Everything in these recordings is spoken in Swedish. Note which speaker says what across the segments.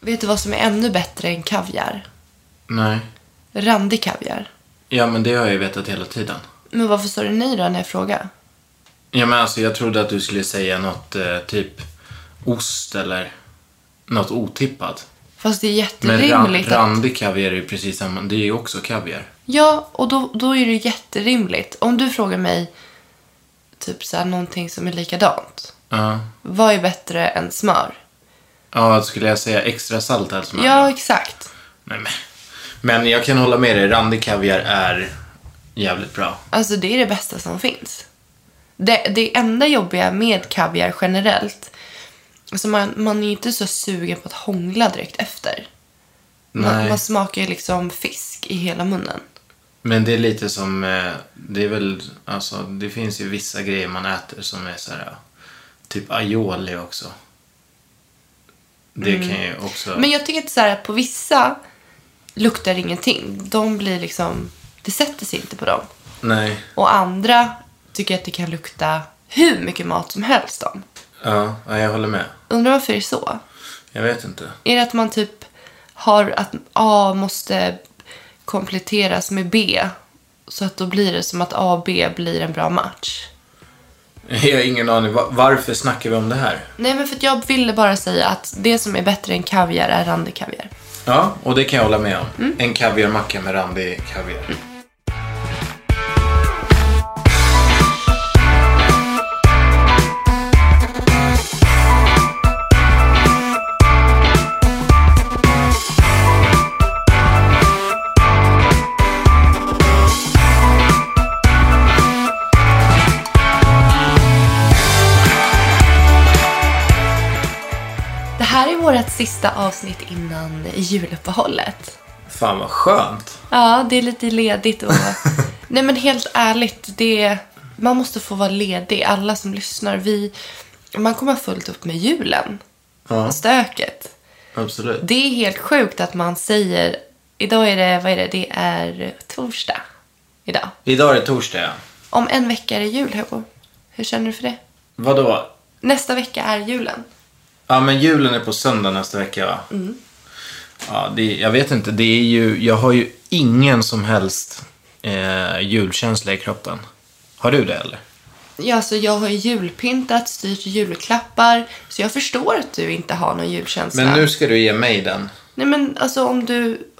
Speaker 1: Vet du vad som är ännu bättre än kaviar?
Speaker 2: Nej.
Speaker 1: Randig kaviar.
Speaker 2: Ja, men det har jag ju vetat hela tiden.
Speaker 1: Men varför sa du nej då när jag frågade?
Speaker 2: Ja, men alltså jag trodde att du skulle säga något eh, typ ost eller något otippat.
Speaker 1: Fast det är
Speaker 2: Men ran,
Speaker 1: jätterimligt. att...
Speaker 2: randig kaviar är ju precis samma. Det är ju också kaviar.
Speaker 1: Ja, och då, då är det jätterimligt. Om du frågar mig typ så här, någonting som är likadant.
Speaker 2: Ja.
Speaker 1: Vad är bättre än smör?
Speaker 2: Ja, skulle jag säga extra salt alltså?
Speaker 1: Ja, exakt.
Speaker 2: Nej, men. men jag kan hålla med dig. Randig kaviar är jävligt bra.
Speaker 1: Alltså det är det bästa som finns. Det, det enda jobbiga med kaviar generellt, alltså man, man är ju inte så sugen på att hångla direkt efter. Man,
Speaker 2: Nej.
Speaker 1: man smakar ju liksom fisk i hela munnen.
Speaker 2: Men det är lite som, eh, det är väl, alltså det finns ju vissa grejer man äter som är så här, ja, typ aioli också. Det kan ju också,
Speaker 1: Men jag tycker att så här, på vissa luktar det ingenting. De blir liksom, det sätter sig inte på dem.
Speaker 2: nej,
Speaker 1: Och andra tycker att det kan lukta hur mycket mat som helst om.
Speaker 2: ja, ja, jag håller med.
Speaker 1: Undrar varför det är så?
Speaker 2: Jag vet inte.
Speaker 1: Är det att man typ har att A måste kompletteras med B? Så att då blir det som att A och B blir en bra match.
Speaker 2: Jag har ingen aning, Va- varför snackar vi om det här?
Speaker 1: Nej men för att jag ville bara säga att det som är bättre än kaviar är randig kaviar.
Speaker 2: Ja, och det kan jag hålla med om. En kaviarmacka med randig kaviar.
Speaker 1: Det här är vårt sista avsnitt innan juluppehållet.
Speaker 2: Fan vad skönt.
Speaker 1: Ja, det är lite ledigt och... Nej men helt ärligt, det är... man måste få vara ledig. Alla som lyssnar, vi... Man kommer ha fullt upp med julen.
Speaker 2: Ja,
Speaker 1: Stöket.
Speaker 2: absolut.
Speaker 1: Det är helt sjukt att man säger... Idag är det, vad är det? Det är torsdag. Idag.
Speaker 2: Idag är det torsdag, ja.
Speaker 1: Om en vecka är det jul, Hugo. Hur känner du för det?
Speaker 2: Vadå?
Speaker 1: Nästa vecka är julen.
Speaker 2: Ja, men julen är på söndag nästa vecka, va?
Speaker 1: Mm.
Speaker 2: Ja, det, jag vet inte. Det är ju, jag har ju ingen som helst eh, julkänsla i kroppen. Har du det, eller?
Speaker 1: Ja, alltså, jag har ju julpyntat, styrt julklappar, så jag förstår att du inte har någon julkänsla.
Speaker 2: Men nu ska du ge mig den.
Speaker 1: Nej, men alltså om du...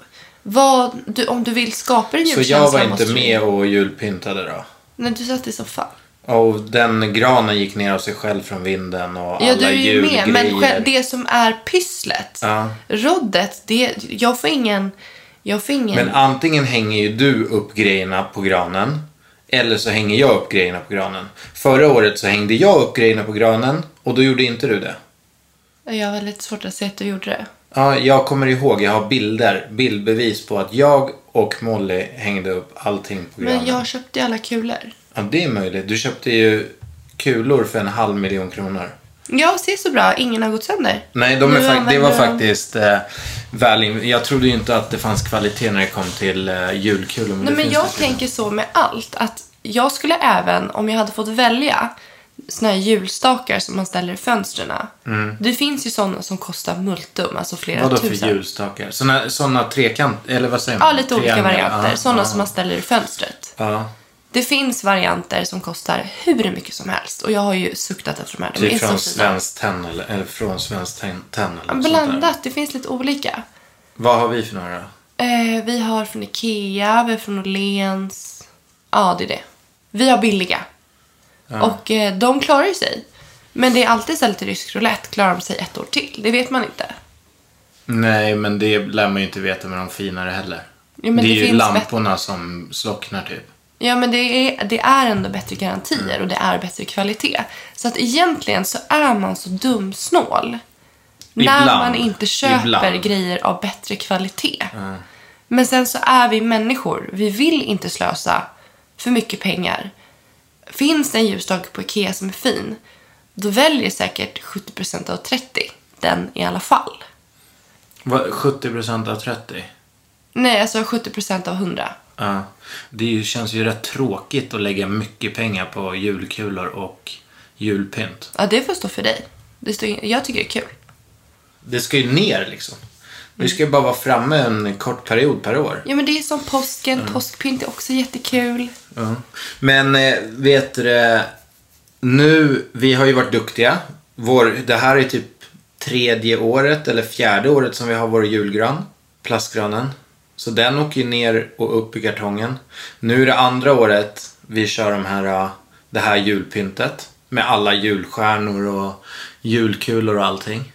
Speaker 1: Vad, du om du vill skapa en
Speaker 2: Så
Speaker 1: julkänsla
Speaker 2: jag var inte
Speaker 1: måste
Speaker 2: med
Speaker 1: Du,
Speaker 2: och julpyntade då?
Speaker 1: nej, du satt i soffan.
Speaker 2: Och den granen gick ner av sig själv från vinden och
Speaker 1: Ja, du
Speaker 2: alla
Speaker 1: är ju med,
Speaker 2: julgrejer.
Speaker 1: men själv- det som är pysslet,
Speaker 2: Ja.
Speaker 1: roddet, det, jag får ingen... Jag får ingen...
Speaker 2: Men antingen hänger ju du upp grejerna på granen. Eller så hänger jag upp grejerna på granen. Förra året så hängde jag upp grejerna på granen och då gjorde inte du det.
Speaker 1: Jag har väldigt svårt att se att du gjorde det.
Speaker 2: Ja, jag kommer ihåg, jag har bilder, bildbevis på att jag och Molly hängde upp allting på granen.
Speaker 1: Men jag köpte ju alla kulor.
Speaker 2: Ja, det är möjligt. Du köpte ju kulor för en halv miljon kronor.
Speaker 1: Jag ser så bra, ingen har gått sönder.
Speaker 2: Nej, de är
Speaker 1: Nu
Speaker 2: fak- det
Speaker 1: använder
Speaker 2: var
Speaker 1: de-
Speaker 2: faktiskt eh, väl in- Jag trodde ju inte att det fanns kvalitet när det kom till eh, julkulor. Men
Speaker 1: Nej,
Speaker 2: det
Speaker 1: men
Speaker 2: finns
Speaker 1: jag
Speaker 2: det tydligen.
Speaker 1: tänker så med allt. Att jag skulle även, om jag hade fått välja, såna här julstakar som man ställer i fönstren. Det finns ju sådana som kostar multum, alltså flera
Speaker 2: Mm. Vadå för
Speaker 1: tusen.
Speaker 2: ljusstakar? Såna, såna trekant... Eller vad säger man?
Speaker 1: Ja, lite olika
Speaker 2: Triangel,
Speaker 1: varianter.
Speaker 2: ja,
Speaker 1: sådana
Speaker 2: ja,
Speaker 1: som man ställer i fönstret.
Speaker 2: Ja.
Speaker 1: Det finns varianter som kostar hur mycket som helst. Och jag har ju suktat efter de här. De
Speaker 2: Typ
Speaker 1: är
Speaker 2: från
Speaker 1: så fina.
Speaker 2: Svenskt Tenn eller, eller från Svenskt Tenn tenn eller något sånt där.
Speaker 1: Blandat, det finns lite olika.
Speaker 2: Vad har vi för några då?
Speaker 1: Eh, vi har från Ikea, vi har från Åhléns. Ja, det är det. Vi har billiga. Och eh, de klarar ju sig. Men det är alltid så här lite rysk roulette. Klarar de sig ett år till? Det vet man inte.
Speaker 2: Nej, men det lär man ju inte veta med de finare heller.
Speaker 1: Ja, men
Speaker 2: det är
Speaker 1: det
Speaker 2: ju
Speaker 1: finns
Speaker 2: lamporna som slocknar typ.
Speaker 1: Ja, men det är, det är ändå bättre garantier och det är bättre kvalitet. Så att egentligen så är man så dumsnål när
Speaker 2: Ibland.
Speaker 1: man inte köper
Speaker 2: Ibland.
Speaker 1: grejer av bättre kvalitet. Men sen så är vi människor. Vi vill inte slösa för mycket pengar. Finns det en ljusstake på Ikea som är fin, då väljer säkert 70% av 30 den i alla fall.
Speaker 2: Vad, 70% av 30?
Speaker 1: Nej, alltså 70% av 100.
Speaker 2: Ja. Det är ju, känns ju rätt tråkigt att lägga mycket pengar på julkulor och julpynt.
Speaker 1: Ja, det får stå för dig. Det står, jag tycker det är kul.
Speaker 2: Det ska ju ner liksom. Vi ska ju bara vara framme en kort period per år.
Speaker 1: Ja men det är som påsken, påskpynt är också jättekul.
Speaker 2: Ja. Men eh, vet du det, nu, vi har ju varit duktiga. Vår, det här är typ tredje året eller fjärde året som vi har vår julgran, plastgranen. Så den åker ju ner och upp i kartongen. Nu är det andra året vi kör de här, eh, det här julpyntet med alla julstjärnor och julkulor och allting.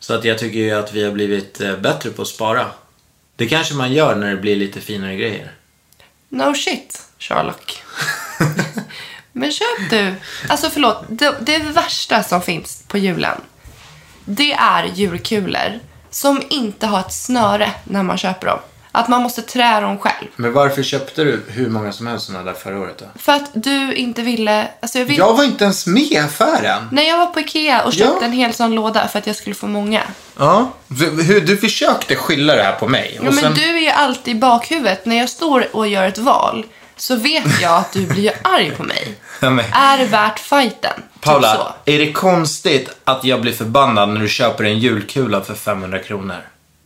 Speaker 2: Så att jag tycker ju att vi har blivit eh, bättre på att spara. Det kanske man gör när det blir lite finare grejer.
Speaker 1: No shit, Sherlock. men köp du. Alltså förlåt, det, det värsta som finns på julen, det är julkulor som inte har ett snöre när man köper dem. Att man måste trä dem själv.
Speaker 2: Men varför köpte du hur många som helst sådana där förra året då?
Speaker 1: För att du inte ville... Alltså jag vill...
Speaker 2: Jag var inte ens med i affären.
Speaker 1: När jag var på Ikea och köpte
Speaker 2: Ja.
Speaker 1: en hel sån låda för att jag skulle få många.
Speaker 2: Ja. Du, hur- du försökte skylla det här på mig.
Speaker 1: Ja, men du är ju alltid i bakhuvudet. När jag står och gör ett val så vet jag att du blir ju arg på mig.
Speaker 2: Ja, men-
Speaker 1: Är det värt fighten?
Speaker 2: Paula,
Speaker 1: Typ så.
Speaker 2: är det konstigt att jag blir förbannad när du köper en julkula för 500 kronor?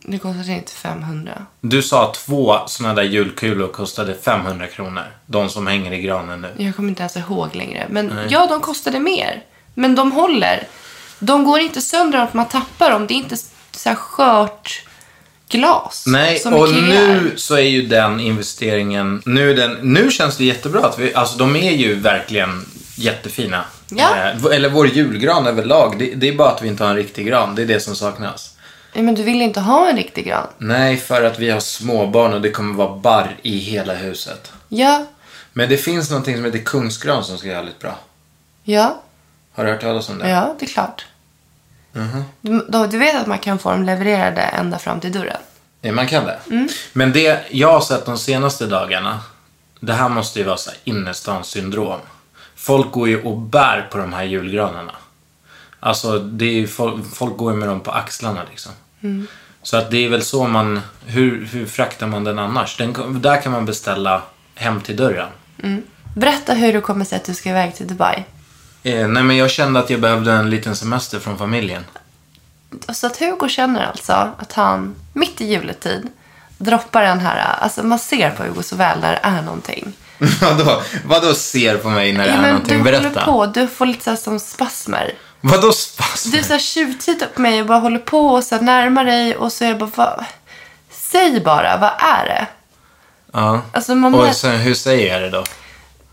Speaker 1: Det kostar inte 500.
Speaker 2: Du sa att två sådana där julkulor kostade 500 kronor. De som hänger i granen nu.
Speaker 1: Jag kommer inte ens ihåg längre. Men ja, de kostade mer. Men de håller. De går inte sönder av att man tappar dem. Det är inte så här skört glas.
Speaker 2: Nej,
Speaker 1: som
Speaker 2: och
Speaker 1: Ikea
Speaker 2: nu
Speaker 1: är.
Speaker 2: så är ju den investeringen... Nu, är den, nu känns det jättebra att vi... Alltså de är ju verkligen jättefina.
Speaker 1: Ja.
Speaker 2: Eh, v- eller vår julgran överlag. Det, det är bara att vi inte har en riktig gran. Det är det som saknas.
Speaker 1: Ja, men du vill inte ha en riktig gran.
Speaker 2: Nej, för att vi har småbarn och det kommer vara barr i hela huset.
Speaker 1: Ja,
Speaker 2: Men det finns någonting som heter kungsgran som ska göra lite bra.
Speaker 1: ja,
Speaker 2: Har du hört talas om det? Mhm.
Speaker 1: ja, det är klart. Eh, Du, då- du vet att man kan få dem levererade ända fram till dörren?
Speaker 2: Ja, man kan det.
Speaker 1: Mm.
Speaker 2: Men det jag har sett de senaste dagarna, det här måste ju vara så här innerstadssyndrom. Folk går ju och bär på de här julgranarna. Alltså, det är ju folk, folk går ju med dem på axlarna liksom.
Speaker 1: Mm.
Speaker 2: Så att det är väl så man, hur, hur fraktar man den annars? Den, där kan man beställa hem till dörren.
Speaker 1: Berätta hur du kommer sig att du ska iväg till Dubai.
Speaker 2: Eh, nej men jag kände att jag behövde en liten semester från familjen.
Speaker 1: Så att Hugo känner alltså att han mitt i juletid droppar den här, alltså man ser på Hugo så väl när det är någonting.
Speaker 2: vadå? Vadå ser på mig när det
Speaker 1: Ja,
Speaker 2: är
Speaker 1: men du
Speaker 2: någonting?
Speaker 1: håller
Speaker 2: Berätta.
Speaker 1: på, du får lite så här som spasmer.
Speaker 2: Vadå spasm?
Speaker 1: Du så här tjuvtittar på mig och bara håller på och så här närmar dig och så är jag bara, vad? Säg bara, vad är det?
Speaker 2: Ja.
Speaker 1: Alltså man
Speaker 2: Och
Speaker 1: märker-
Speaker 2: sen, hur säger jag det då?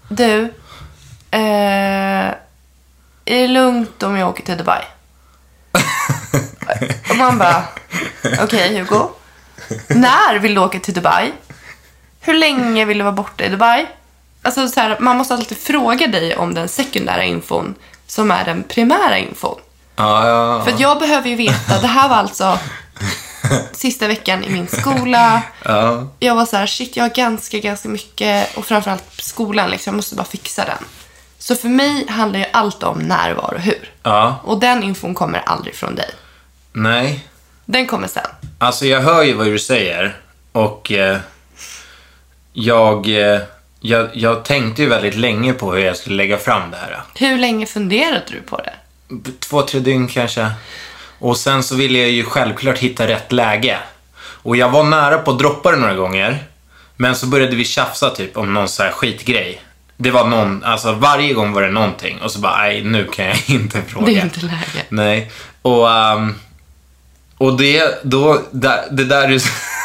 Speaker 1: Du, eh, är det lugnt om jag åker till Dubai? Och man bara, okej Hugo, när vill du åka till Dubai? Hur länge vill du vara borta i Dubai? Alltså så här, man måste alltid fråga dig om den sekundära infon som är den primära infon.
Speaker 2: Ja, ja,
Speaker 1: För att jag behöver ju veta, det här var alltså sista veckan i min skola.
Speaker 2: ja.
Speaker 1: Jag var så här, shit jag har ganska, ganska mycket och framförallt skolan liksom, jag måste bara fixa den. Så för mig handlar ju allt om när, var och hur.
Speaker 2: Ja.
Speaker 1: Och den infon kommer aldrig från dig.
Speaker 2: Nej.
Speaker 1: Den kommer sen.
Speaker 2: Alltså jag hör ju vad du säger och eh, jag eh, jag, jag tänkte ju väldigt länge på hur jag skulle lägga fram det här.
Speaker 1: Hur länge funderade du på det?
Speaker 2: Två, tre dygn kanske. Och sen så ville jag ju självklart hitta rätt läge. Och jag var nära på att droppa det några gånger. Men så började vi tjafsa typ om någon så här skitgrej. Det var någon, alltså varje gång var det någonting och så bara, nej nu kan jag inte fråga.
Speaker 1: Det är inte läge.
Speaker 2: Nej. Och, ehm, och det, då, där, det där du...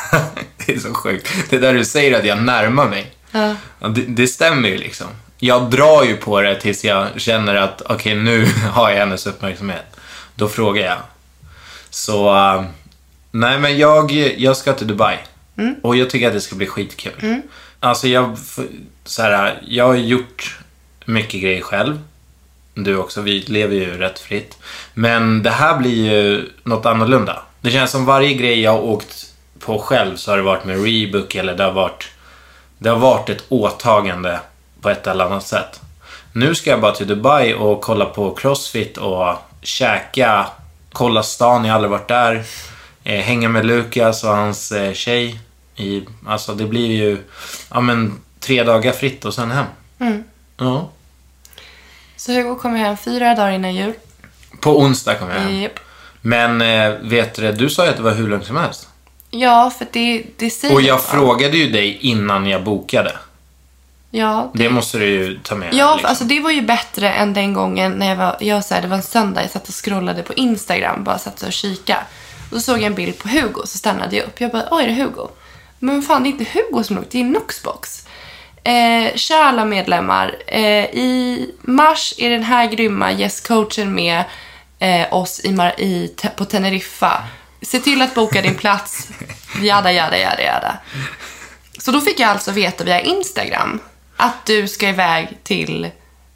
Speaker 2: det är så sjukt. Det där du säger att jag närmar mig.
Speaker 1: Ja.
Speaker 2: Ja, Det, det stämmer ju liksom. Jag drar ju på det tills jag känner att okej, nu har jag hennes uppmärksamhet. Då frågar jag. Så, eh, nej men jag, jag ska till Dubai. Och jag tycker att det ska bli skitkul. Alltså jag, f- så här, jag har gjort mycket grejer själv. Du också, vi lever ju rätt fritt. Men det här blir ju något annorlunda. Det känns som varje grej jag har åkt på själv så har det varit med Rebook eller det har varit det har varit ett åtagande på ett eller annat sätt. Nu ska jag bara till Dubai och kolla på Crossfit och käka, kolla stan, jag har aldrig varit där. Eh, hänga med Lukas och hans eh, tjej. I, alltså det blir ju ja, men, tre dagar fritt och sen hem. Ja.
Speaker 1: Så Hugo kommer hem fyra dagar innan jul.
Speaker 2: På onsdag kommer jag hem.
Speaker 1: Japp.
Speaker 2: Men eh, vet du, du sa ju att det var hur långt som helst.
Speaker 1: Ja, för det, det säger
Speaker 2: Och jag
Speaker 1: va?
Speaker 2: frågade ju dig innan jag bokade.
Speaker 1: Ja,
Speaker 2: Det måste du ju ta med.
Speaker 1: Ja,
Speaker 2: liksom.
Speaker 1: alltså det var ju bättre än den gången när jag var, jag, så här, det var en söndag, jag satt och scrollade på Instagram, bara satt och kika. Då såg jag en bild på Hugo, så stannade jag upp. Jag bara, oj, är det Hugo? Men fan, det är inte Hugo som låg, det är Noxbox. Eh, kära alla medlemmar, eh, i mars är den här grymma gästcoachen med eh, oss i, Mar- i, te- på Teneriffa. Se till att boka din plats, jada, jada, jada, jada. Så då fick jag alltså veta via Instagram att du ska iväg till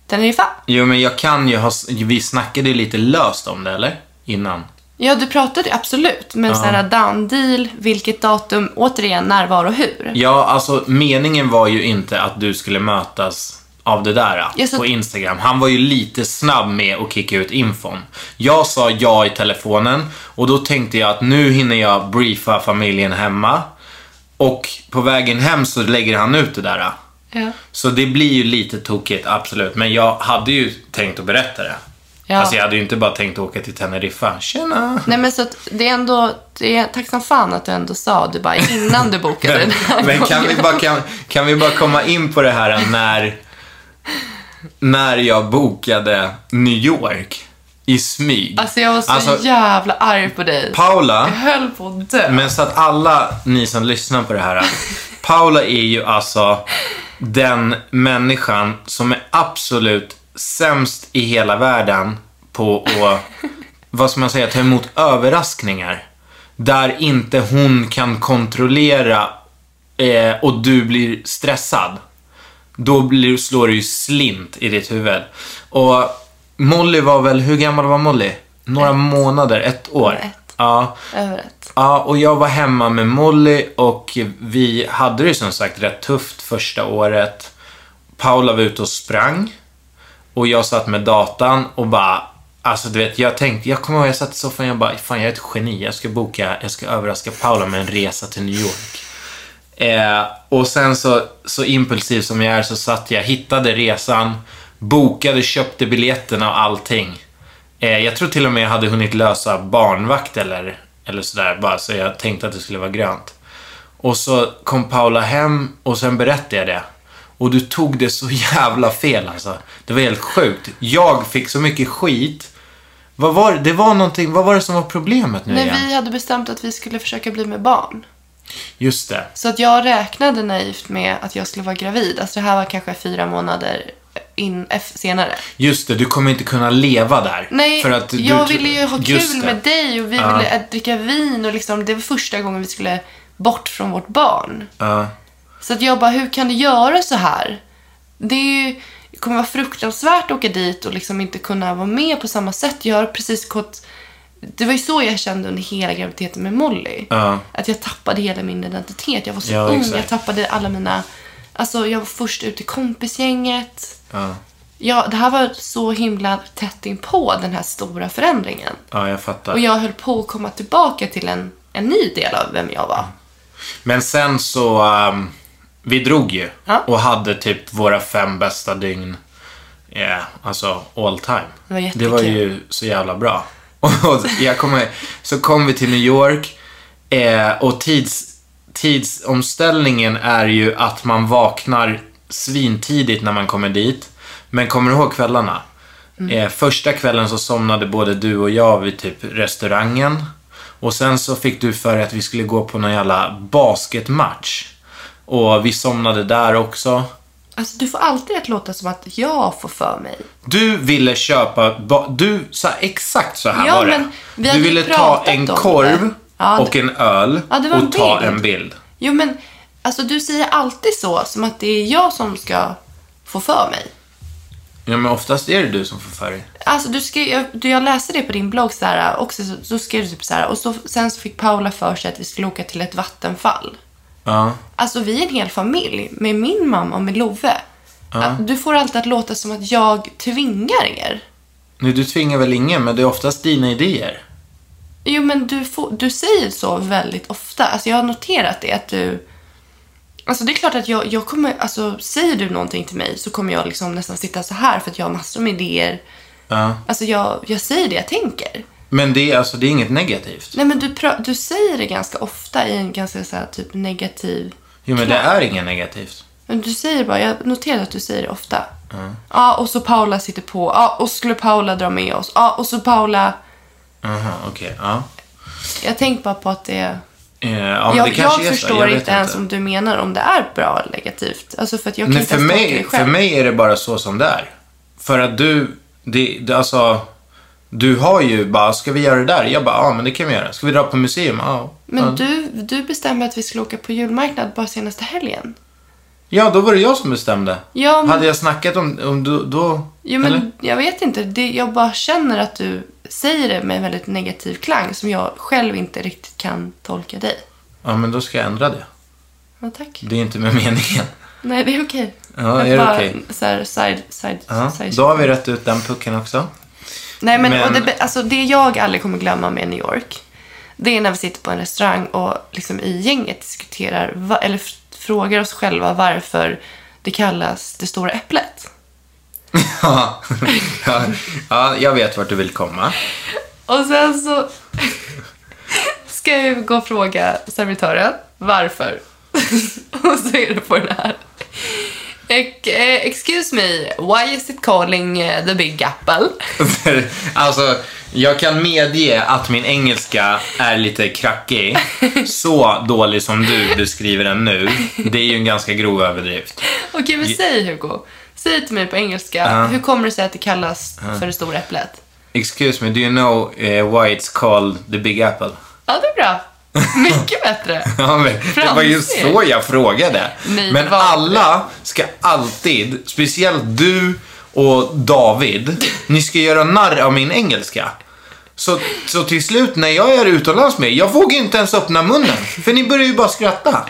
Speaker 1: Teneriffa.
Speaker 2: Jo, men jag kan ju ha... Vi snackade ju lite löst om det, eller? Innan.
Speaker 1: Ja, du pratade absolut, men sån här down deal, vilket datum, återigen när, var och hur.
Speaker 2: Ja, alltså meningen var ju inte att du skulle mötas av det där eh,
Speaker 1: Ja, så-
Speaker 2: på Instagram. Han var ju lite snabb med att kicka ut infon. Jag sa ja i telefonen och då tänkte jag att nu hinner jag briefa familjen hemma. Och på vägen hem så lägger han ut det där. eh.
Speaker 1: Ja.
Speaker 2: Så det blir ju lite tokigt, absolut. Men jag hade ju tänkt att berätta det.
Speaker 1: Ja.
Speaker 2: Alltså jag hade ju inte bara tänkt att åka till Teneriffa. Tjena!
Speaker 1: Nej, men så att det är ändå, det är tack som fan att du ändå sa det bara innan du bokade den här
Speaker 2: Men kan
Speaker 1: gången.
Speaker 2: vi, bara, kan, kan vi bara komma in på det här när, när jag bokade New York i smyg?
Speaker 1: Alltså jag var så jävla arg på dig.
Speaker 2: Paula,
Speaker 1: jag höll på att dö.
Speaker 2: men så att alla ni som lyssnar på det här, Paula är ju alltså den människan som är absolut sämst i hela världen på att, vad ska man säga, ta emot överraskningar. Där inte hon kan kontrollera eh, och du blir stressad. Då blir, slår det ju slint i ditt huvud. Och Molly var väl, hur gammal var Molly? Några månader, ett år.
Speaker 1: Ett.
Speaker 2: Ja.
Speaker 1: Över ett.
Speaker 2: Ja, och jag var hemma med Molly och vi hade det som sagt rätt tufft första året. Paula var ute och sprang och jag satt med datan och bara Alltså du vet, jag tänkte, jag kommer ihåg jag satt i soffan och jag bara, fan jag är ett geni, jag ska boka, jag ska överraska Paula med en resa till New York. Eh, och sen så, så impulsiv som jag är så satt jag, hittade resan, bokade, köpte biljetterna och allting. Eh, jag tror till och med jag hade hunnit lösa barnvakt eller, eller sådär bara, så jag tänkte att det skulle vara grönt. Och så kom Paula hem och sen berättade jag det. Och du tog det så jävla fel alltså. Det var helt sjukt. Jag fick så mycket skit. Vad var det? Det var någonting, vad var det som var problemet nu
Speaker 1: När
Speaker 2: igen?
Speaker 1: vi hade bestämt att vi skulle försöka bli med barn.
Speaker 2: Just det.
Speaker 1: Så att jag räknade naivt med att jag skulle vara gravid. Alltså det här var kanske fyra månader in, f- senare.
Speaker 2: Just det, du kommer inte kunna leva där.
Speaker 1: Nej,
Speaker 2: för att du,
Speaker 1: jag ville ju ha
Speaker 2: just
Speaker 1: kul
Speaker 2: det.
Speaker 1: med dig och vi
Speaker 2: Ja.
Speaker 1: ville att dricka vin och liksom, det var första gången vi skulle bort från vårt barn.
Speaker 2: Ja.
Speaker 1: Så att jag bara, hur kan du göra så här? Det, är ju, det kommer vara fruktansvärt att åka dit och liksom inte kunna vara med på samma sätt. Jag har precis gått... Det var ju så jag kände under hela graviditeten med Molly.
Speaker 2: Ja.
Speaker 1: Att jag tappade hela min identitet. Jag var så
Speaker 2: Ja,
Speaker 1: ung,
Speaker 2: exakt.
Speaker 1: jag tappade alla mina... Alltså jag var först ut i kompisgänget.
Speaker 2: Ja.
Speaker 1: Ja, det här var så himla tätt inpå den här stora förändringen.
Speaker 2: ja, jag fattar.
Speaker 1: Och jag höll på att komma
Speaker 2: Mm.
Speaker 1: tillbaka till en, en ny del av vem jag var.
Speaker 2: Men sen så... ehm, vi drog ju
Speaker 1: Ja.
Speaker 2: och hade typ våra fem bästa dygn. Yeah, alltså all time.
Speaker 1: Det var
Speaker 2: det var
Speaker 1: jättekul.
Speaker 2: ju så jävla bra. Och jag kommer, så kom vi till New York eh, och tids, tidsomställningen är ju att man vaknar svintidigt när man kommer dit. Men kommer du ihåg kvällarna?
Speaker 1: Mm.
Speaker 2: Eh, första kvällen så somnade både du och jag vid typ restaurangen. Och sen så fick du för dig att vi skulle gå på någon jävla basketmatch. Och vi somnade där också.
Speaker 1: Alltså du får alltid att låta som att jag får för mig.
Speaker 2: Du ville köpa, ba- du sa exakt så här
Speaker 1: Ja,
Speaker 2: var det.
Speaker 1: men vi hade
Speaker 2: du
Speaker 1: ju
Speaker 2: ville ta
Speaker 1: pratat
Speaker 2: en
Speaker 1: om
Speaker 2: korv
Speaker 1: det. Ja,
Speaker 2: och
Speaker 1: det-
Speaker 2: en öl
Speaker 1: Ja, det var
Speaker 2: och
Speaker 1: en
Speaker 2: ta
Speaker 1: bild.
Speaker 2: en bild.
Speaker 1: Jo men, alltså du säger alltid så, som att det är jag som ska få för mig.
Speaker 2: Ja, men oftast är det du som får för dig.
Speaker 1: Alltså du skrev, jag, du, jag läste det på din blogg så här, också, så, så skrev du typ så här, och så, sen så fick Paula för sig att vi skulle åka till ett vattenfall.
Speaker 2: Ja.
Speaker 1: Alltså vi är en hel familj med min mamma och med Love. Att, du får alltid att låta som att jag tvingar er.
Speaker 2: Nu, du tvingar väl ingen, men det är oftast dina idéer.
Speaker 1: Jo men du, får, du säger så väldigt ofta. Alltså jag har noterat det att du... Alltså det är klart att jag, jag kommer, alltså säger du någonting till mig så kommer jag liksom nästan sitta så här för att jag har massor med idéer.
Speaker 2: Ja.
Speaker 1: Alltså jag, jag säger det jag tänker.
Speaker 2: Men det är, alltså, det är inget negativt.
Speaker 1: Nej men du, pra- du säger det ganska ofta i en ganska så här, typ negativ...
Speaker 2: Jo, men det
Speaker 1: Klart.
Speaker 2: är inget negativt.
Speaker 1: Men du säger bara, jag noterar att du säger det ofta. Ja och så Paula sitter på, ja och skulle Paula dra med oss, ja och så Paula...
Speaker 2: Aha, okej. ja.
Speaker 1: Jag tänker bara på att det...
Speaker 2: Eh, ja, men det
Speaker 1: jag
Speaker 2: kanske
Speaker 1: jag
Speaker 2: är så,
Speaker 1: förstår
Speaker 2: vet
Speaker 1: inte, ens om du menar om det är bra eller negativt. Alltså för att jag kan
Speaker 2: Nej,
Speaker 1: inte
Speaker 2: för
Speaker 1: ens tolka
Speaker 2: mig,
Speaker 1: det själv.
Speaker 2: för mig är det bara så som det är. För att du, det, det, alltså, du har ju bara, ska vi göra det där? Jag bara, ja men det kan vi göra. Ska vi dra på museum? Ja.
Speaker 1: Men
Speaker 2: ja.
Speaker 1: du, du bestämde att vi skulle åka på julmarknad bara senaste helgen.
Speaker 2: ja, då var det jag som bestämde.
Speaker 1: Ja, men-
Speaker 2: Hade jag snackat om, om du, då?
Speaker 1: Jo men
Speaker 2: eller?
Speaker 1: jag vet inte, det, jag bara känner att du säger det med en väldigt negativ klang som jag själv inte riktigt kan tolka dig.
Speaker 2: Ja, men då ska jag ändra det.
Speaker 1: Ja, tack.
Speaker 2: Det är inte med meningen.
Speaker 1: Nej, det är okej.
Speaker 2: Ja,
Speaker 1: Jag
Speaker 2: är det
Speaker 1: bara
Speaker 2: okej?
Speaker 1: Så här, side, side,
Speaker 2: Ja,
Speaker 1: side
Speaker 2: då har vi rätt ut den pucken också.
Speaker 1: Nej, men,
Speaker 2: Men-
Speaker 1: Och det, be- alltså, det jag aldrig kommer glömma med New York, det är när vi sitter på en restaurang och liksom i gänget diskuterar, va- eller f- frågar oss själva varför det kallas det stora äpplet.
Speaker 2: ja, ja, jag vet vart du vill komma.
Speaker 1: Och sen så ska jag gå och fråga servitören varför. och så är det på den här. Ex- eh, Excuse me, why is it calling eh, the big apple?
Speaker 2: alltså, jag kan medge att min engelska är lite krackig. Så dålig som du beskriver den nu, det är ju en ganska grov överdrift.
Speaker 1: Okej, men säg Hugo. Säg till mig på engelska, hur kommer det sig att det kallas för det stora äpplet?
Speaker 2: Excuse me, do you know eh, why it's called the big apple?
Speaker 1: Ja, det är bra. Mycket bättre.
Speaker 2: Ja, men det var ju
Speaker 1: Fransigt.
Speaker 2: så jag frågade.
Speaker 1: Nej, det
Speaker 2: men
Speaker 1: var inte
Speaker 2: alla ska alltid, speciellt du och David, ni ska göra narr av min engelska. Så, så till slut när jag är utomlands med jag vågar ju inte ens öppna munnen, för ni börjar ju bara skratta.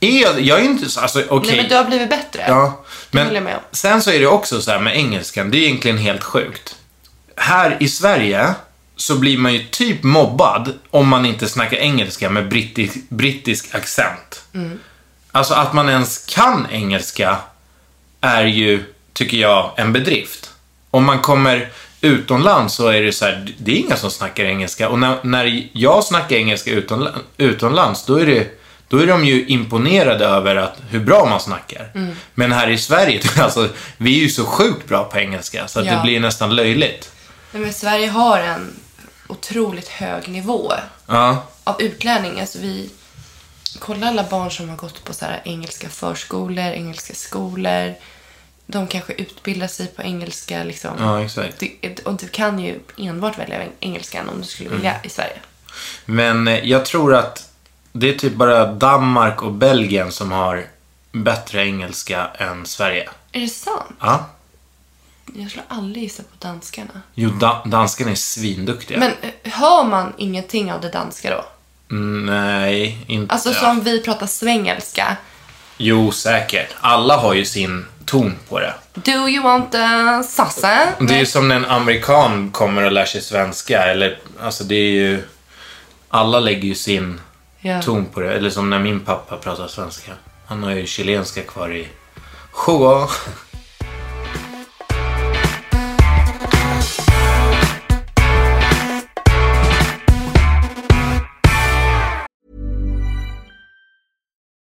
Speaker 2: Är jag, jag är ju inte så, alltså okej.
Speaker 1: Nej, men du har blivit bättre.
Speaker 2: Ja,
Speaker 1: håller jag
Speaker 2: men
Speaker 1: med om.
Speaker 2: sen så är det också så här med engelskan, det är egentligen helt sjukt. Här i Sverige så blir man ju typ mobbad om man inte snackar engelska med brittisk, brittisk accent. Alltså att man ens kan engelska är ju, tycker jag, en bedrift. Om man kommer utomlands så är det så här, det är inga som snackar engelska. Och när, när jag snackar engelska utomla- utomlands, då är, det, då är de ju imponerade över att, hur bra man snackar. Men här i Sverige, alltså, vi är ju så sjukt bra på engelska så att det
Speaker 1: Ja.
Speaker 2: blir nästan löjligt.
Speaker 1: Nej, men Sverige har en otroligt hög nivå
Speaker 2: Ja,
Speaker 1: av utlänning. Alltså, vi... Kolla alla barn som har gått på så här engelska förskolor, engelska skolor. De kanske utbildar sig på engelska. Liksom.
Speaker 2: ja exakt.
Speaker 1: Du, och du kan ju enbart välja engelskan om du skulle
Speaker 2: Mm.
Speaker 1: vilja i Sverige.
Speaker 2: Men eh, jag tror att det är typ bara Danmark och Belgien som har bättre engelska än Sverige.
Speaker 1: Är det sant?
Speaker 2: Ja.
Speaker 1: Jag skulle aldrig gissa på danskarna.
Speaker 2: Jo, da- danskarna är svinduktiga.
Speaker 1: Men eh, hör man ingenting av det danska då?
Speaker 2: Mm, Nej, inte...
Speaker 1: Alltså som vi pratar svengelska.
Speaker 2: Jo, säkert. Alla har ju sin ton på det.
Speaker 1: Do you want a sassa?
Speaker 2: Det är ju som när en amerikan kommer och lär sig svenska. Eller, alltså det är ju... Alla lägger ju sin
Speaker 1: Ja.
Speaker 2: ton på det. Eller som när min pappa pratar svenska. Han har ju chilenska kvar i sjå.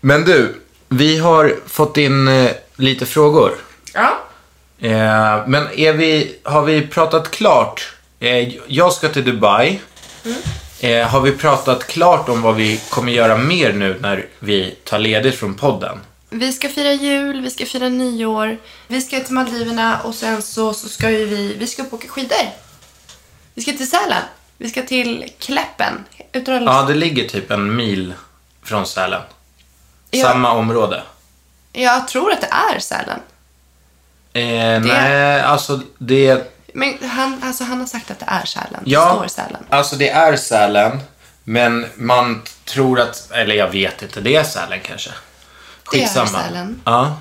Speaker 2: Men du, vi har fått in eh, lite frågor.
Speaker 1: Ja.
Speaker 2: Eh, men är vi, har vi pratat klart? Eh, jag ska till Dubai. Eh, har vi pratat klart om vad vi kommer göra mer nu när vi tar ledigt från podden?
Speaker 1: Vi ska fira jul, vi ska fira nyår, vi ska till Maldiverna och sen så, så ska ju vi, vi ska upp och åka skidor. Vi ska till Sälen. Vi ska till Kläppen. Utan
Speaker 2: Ja,
Speaker 1: ja,
Speaker 2: det ligger typ en mil från Sälen.
Speaker 1: Ja.
Speaker 2: Samma område.
Speaker 1: Jag tror att det är Sälen.
Speaker 2: Eh, Nej, alltså det...
Speaker 1: Men han, alltså han har sagt att det är Sälen.
Speaker 2: Ja,
Speaker 1: Det står Sälen.
Speaker 2: alltså det är Sälen. Men man tror att... Eller jag vet inte, det är Sälen kanske.
Speaker 1: Det är
Speaker 2: Skitsamma.
Speaker 1: Sälen.
Speaker 2: Ja.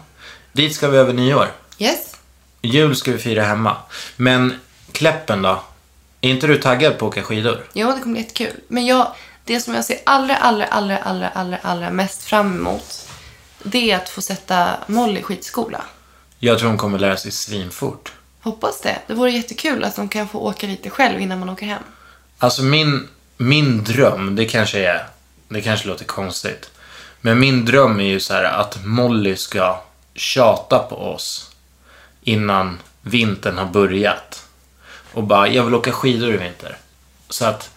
Speaker 2: Dit ska vi över nyår.
Speaker 1: Yes.
Speaker 2: Jul ska vi fira hemma. Men Kläppen då? Är inte du taggad på att åka skidor?
Speaker 1: Jo, det kommer bli jättekul. Men jag, det som jag ser allra, allra, allra, allra, allra, allra mest fram emot, det är att få sätta Molly i skidskola.
Speaker 2: Jag tror hon kommer lära sig svinfort.
Speaker 1: Hoppas det. Det vore jättekul att de kan få åka lite själv innan man åker hem.
Speaker 2: Alltså min, min dröm, det kanske är... Det kanske låter konstigt. Men min dröm är ju så här att Molly ska tjata på oss innan vintern har börjat. Och bara, jag vill åka skidor i vinter. Så att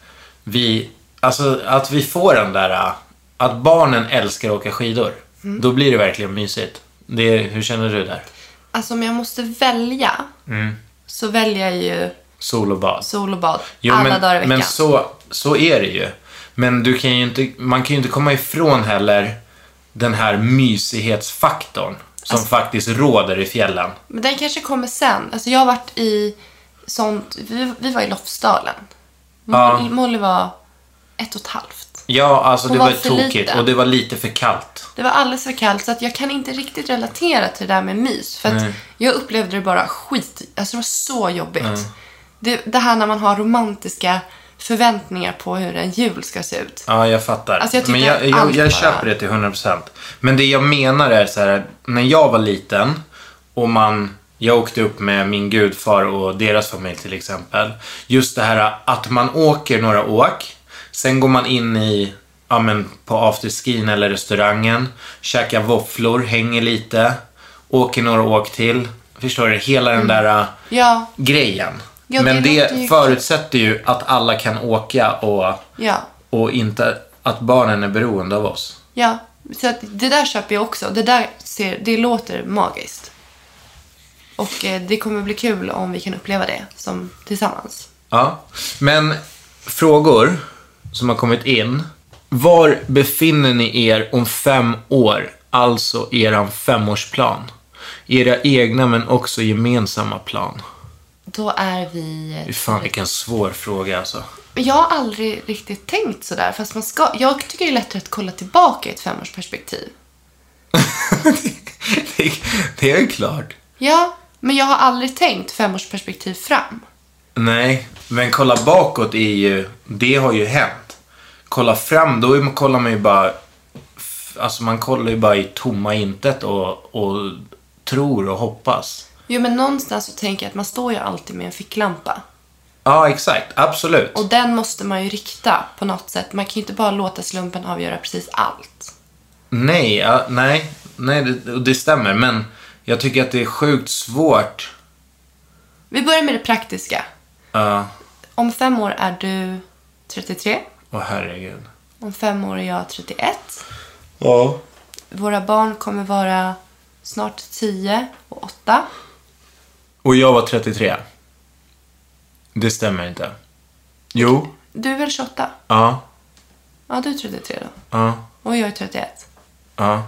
Speaker 2: vi, alltså att vi får den där, äh, att barnen älskar att åka skidor. Då blir det verkligen mysigt. Det, hur känner du där?
Speaker 1: Alltså om jag måste välja
Speaker 2: Mm.
Speaker 1: så väljer jag ju
Speaker 2: Sol och bad.
Speaker 1: sol och bad
Speaker 2: Jo,
Speaker 1: alla
Speaker 2: men,
Speaker 1: dagar i veckan.
Speaker 2: Men så, så är det ju. Men du kan ju inte, man kan ju inte komma ifrån heller den här mysighetsfaktorn som
Speaker 1: Alltså-
Speaker 2: faktiskt råder i fjällen.
Speaker 1: Men den kanske kommer sen. Alltså jag har varit i sånt... Vi, vi var i Lofsdalen.
Speaker 2: Ja.
Speaker 1: Molly, Molly var ett och ett halvt.
Speaker 2: Ja, alltså
Speaker 1: Hon
Speaker 2: det var,
Speaker 1: var
Speaker 2: ju
Speaker 1: för
Speaker 2: tokigt
Speaker 1: liten.
Speaker 2: och det var lite för kallt.
Speaker 1: Det var alldeles för kallt så att jag kan inte riktigt relatera till det där med mys. För att jag upplevde det bara skit. Alltså det var så jobbigt. Det, det här när man har romantiska förväntningar på hur en jul ska se ut.
Speaker 2: Ja, jag fattar.
Speaker 1: Alltså, jag tycker
Speaker 2: men jag,
Speaker 1: att
Speaker 2: jag, jag,
Speaker 1: allt bara-
Speaker 2: köper det till 100%. Men det jag menar är så här, när jag var liten och man, jag åkte upp med min gudfar och deras familj till exempel. Just det här att man åker några åk, sen går man in i, ja men på afterskin eller restaurangen, käkar våfflor, hänger lite, åker några åk till. Förstår du? Hela den där äh,
Speaker 1: Ja,
Speaker 2: grejen.
Speaker 1: Mm. Ja,
Speaker 2: men
Speaker 1: det
Speaker 2: det,
Speaker 1: låter ju-
Speaker 2: förutsätter ju att alla kan åka och
Speaker 1: ja.
Speaker 2: och inte att barnen är beroende av oss.
Speaker 1: Ja, så att det där köper jag också. Det där ser, det låter magiskt. Och eh, det kommer bli kul om vi kan uppleva det som, tillsammans.
Speaker 2: Ja. Men frågor som har kommit in. Var befinner ni er om fem år? Alltså eran femårsplan. Era egna men också gemensamma plan.
Speaker 1: Då är vi...
Speaker 2: Fy fan vilken svår fråga alltså.
Speaker 1: Jag har aldrig riktigt tänkt sådär. Fast man ska... Jag tycker det är lättare att kolla tillbaka i ett femårsperspektiv.
Speaker 2: det, det är ju klart.
Speaker 1: Ja, men jag har aldrig tänkt femårsperspektiv fram.
Speaker 2: Nej, men kolla bakåt är ju, det har ju hänt. Kolla fram, då är, man- kollar man ju bara, f- alltså man kollar ju bara i tomma intet och, och tror och hoppas.
Speaker 1: Jo, men någonstans så tänker jag att man står ju alltid med en ficklampa.
Speaker 2: Ja, exakt, absolut.
Speaker 1: Och den måste man ju rikta på något sätt. Man kan ju inte bara låta slumpen avgöra precis allt.
Speaker 2: Nej, ja, nej, nej, det, och det stämmer, men jag tycker att det är sjukt svårt.
Speaker 1: Vi börjar med det praktiska.
Speaker 2: Ja,
Speaker 1: Om fem år är du 33.
Speaker 2: åh herregud.
Speaker 1: Om fem år är jag 31.
Speaker 2: Ja.
Speaker 1: Våra barn kommer vara snart 10 och 8.
Speaker 2: Och jag var 33. Det stämmer inte. Jo,
Speaker 1: Du är väl 28?
Speaker 2: ja,
Speaker 1: Ja, du är 33 då.
Speaker 2: ja,
Speaker 1: Och jag är 31.
Speaker 2: ja.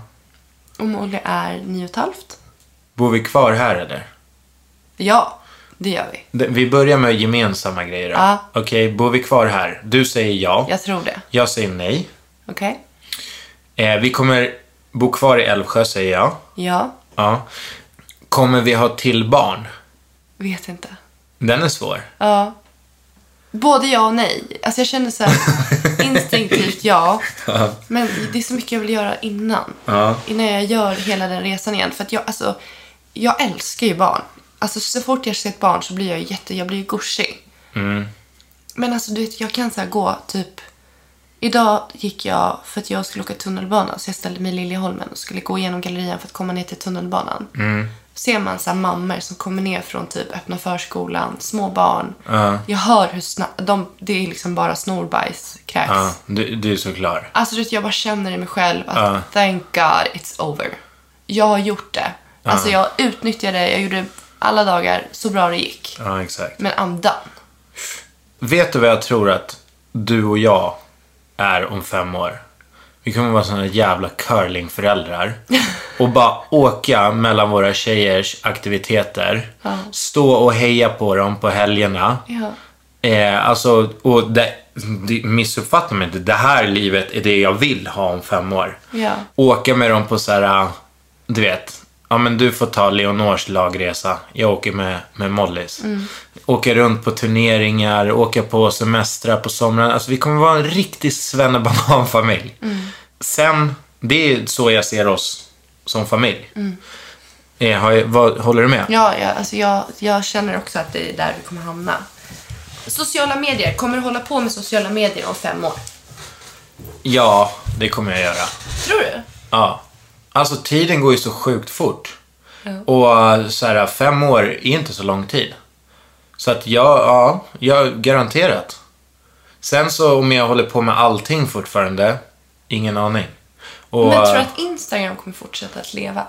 Speaker 1: Och Molly är 9,5.
Speaker 2: Bor vi kvar här eller?
Speaker 1: Ja, det gör vi.
Speaker 2: Det- Vi börjar med gemensamma grejer. då.
Speaker 1: Ja.
Speaker 2: Okej, bor vi kvar här? Du säger ja.
Speaker 1: Jag tror det.
Speaker 2: Jag säger nej.
Speaker 1: Okej?
Speaker 2: Eh, vi kommer bo kvar i Älvsjö, säger jag.
Speaker 1: Ja.
Speaker 2: Ja. Kommer vi ha till barn?
Speaker 1: Vet inte.
Speaker 2: Den är svår.
Speaker 1: Ja. Både ja och nej. Alltså jag känner så här instinktivt ja. Men det är så mycket jag vill göra innan.
Speaker 2: Ja.
Speaker 1: Innan jag gör hela den resan igen. För att jag, alltså, jag älskar ju barn. Alltså så fort jag ser ett barn så blir jag jätte, jag blir ju gushig. Men alltså du vet, jag kan så här gå typ. Idag gick jag för att jag skulle åka tunnelbana så jag ställde mig i Liljeholmen och skulle gå igenom gallerian för att komma ner till tunnelbanan.
Speaker 2: Mm.
Speaker 1: Ser man så här mammor som kommer ner från typ öppna förskolan, små barn. Jag hör hur snabbt, de, det är liksom bara snorbajs, kräks.
Speaker 2: Ja, du, du är så klar.
Speaker 1: Alltså du vet, jag bara känner i mig själv att thank God it's over. Jag har gjort det. Alltså jag utnyttjade det, jag gjorde alla dagar så bra det gick.
Speaker 2: Ja, exakt.
Speaker 1: Men I'm done.
Speaker 2: Vet du vad jag tror att du och jag är om fem år? Vi kommer vara såna jävla curlingföräldrar och bara åka mellan våra tjejers aktiviteter. Stå och heja på dem på helgerna.
Speaker 1: Ja.
Speaker 2: Eh, alltså, och det, det, missuppfatta mig inte. Det här livet är det jag vill ha om fem år.
Speaker 1: Ja.
Speaker 2: Åka med dem på så här, du vet. Ja, men du får ta Leonors lagresa. Jag åker med, med Mollys.
Speaker 1: Mm.
Speaker 2: Åka runt på turneringar, åka på semestrar på somrarna. Alltså, vi kommer vara en riktig svennebananfamilj.
Speaker 1: Mm.
Speaker 2: Sen, det är så jag ser oss som familj. Eh, har jag, vad, håller du med?
Speaker 1: Mm. Ja, jag, alltså jag, jag känner också att det är där vi kommer hamna. Sociala medier. Kommer du hålla på med sociala medier om fem år?
Speaker 2: ja, det kommer jag göra.
Speaker 1: Tror du?
Speaker 2: Ja. Alltså tiden går ju så sjukt fort. Och eh, så här, fem år är inte så lång tid. Så att jag, ja, jag garanterat. Sen så om jag håller på med allting fortfarande, ingen aning. Och,
Speaker 1: Men tror du
Speaker 2: eh,
Speaker 1: att Instagram kommer fortsätta att leva?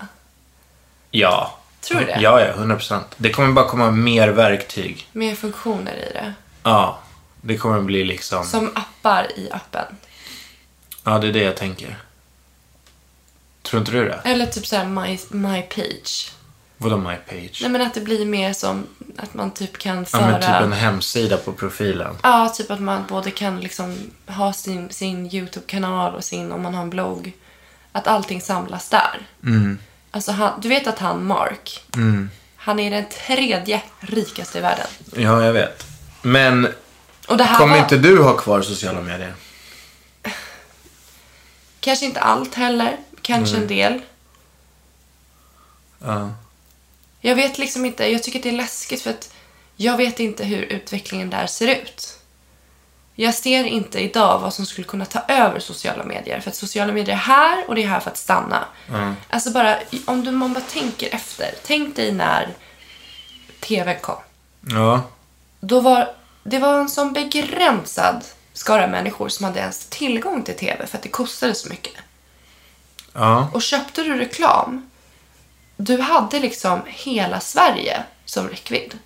Speaker 2: Ja.
Speaker 1: Tror du det?
Speaker 2: Ja, ja, 100 procent. Det kommer bara komma mer verktyg.
Speaker 1: Mer funktioner i det.
Speaker 2: Ja. Det kommer bli liksom,
Speaker 1: Som appar i appen.
Speaker 2: ja det är det jag tänker. Tror inte du det?
Speaker 1: Eller typ såhär my, my page.
Speaker 2: Vadå my page?
Speaker 1: Nej men att det blir mer som att man typ kan
Speaker 2: Ja
Speaker 1: föra...
Speaker 2: men typ en hemsida på profilen.
Speaker 1: Ja, typ att man både kan liksom ha sin, sin YouTube-kanal och sin, om man har en blogg, att allting samlas där.
Speaker 2: Mm.
Speaker 1: Alltså han, du vet att han Mark, han är den tredje rikaste i världen.
Speaker 2: Ja, jag vet. Men
Speaker 1: Och det här
Speaker 2: Kommer
Speaker 1: var
Speaker 2: inte du ha kvar sociala medier?
Speaker 1: kanske inte allt heller, kanske en del.
Speaker 2: Ja.
Speaker 1: Jag vet liksom inte, jag tycker att det är läskigt för att jag vet inte hur utvecklingen där ser ut. Jag ser inte idag vad som skulle kunna ta över sociala medier. För att sociala medier är här och det är här för att stanna. Alltså bara, om du man bara tänker efter. Tänk dig när TV kom.
Speaker 2: Ja.
Speaker 1: Då var, det var en sån begränsad skara människor som hade ens tillgång till TV för att det kostade så mycket.
Speaker 2: Ja.
Speaker 1: Och köpte du reklam, du hade liksom hela Sverige som räckvidd.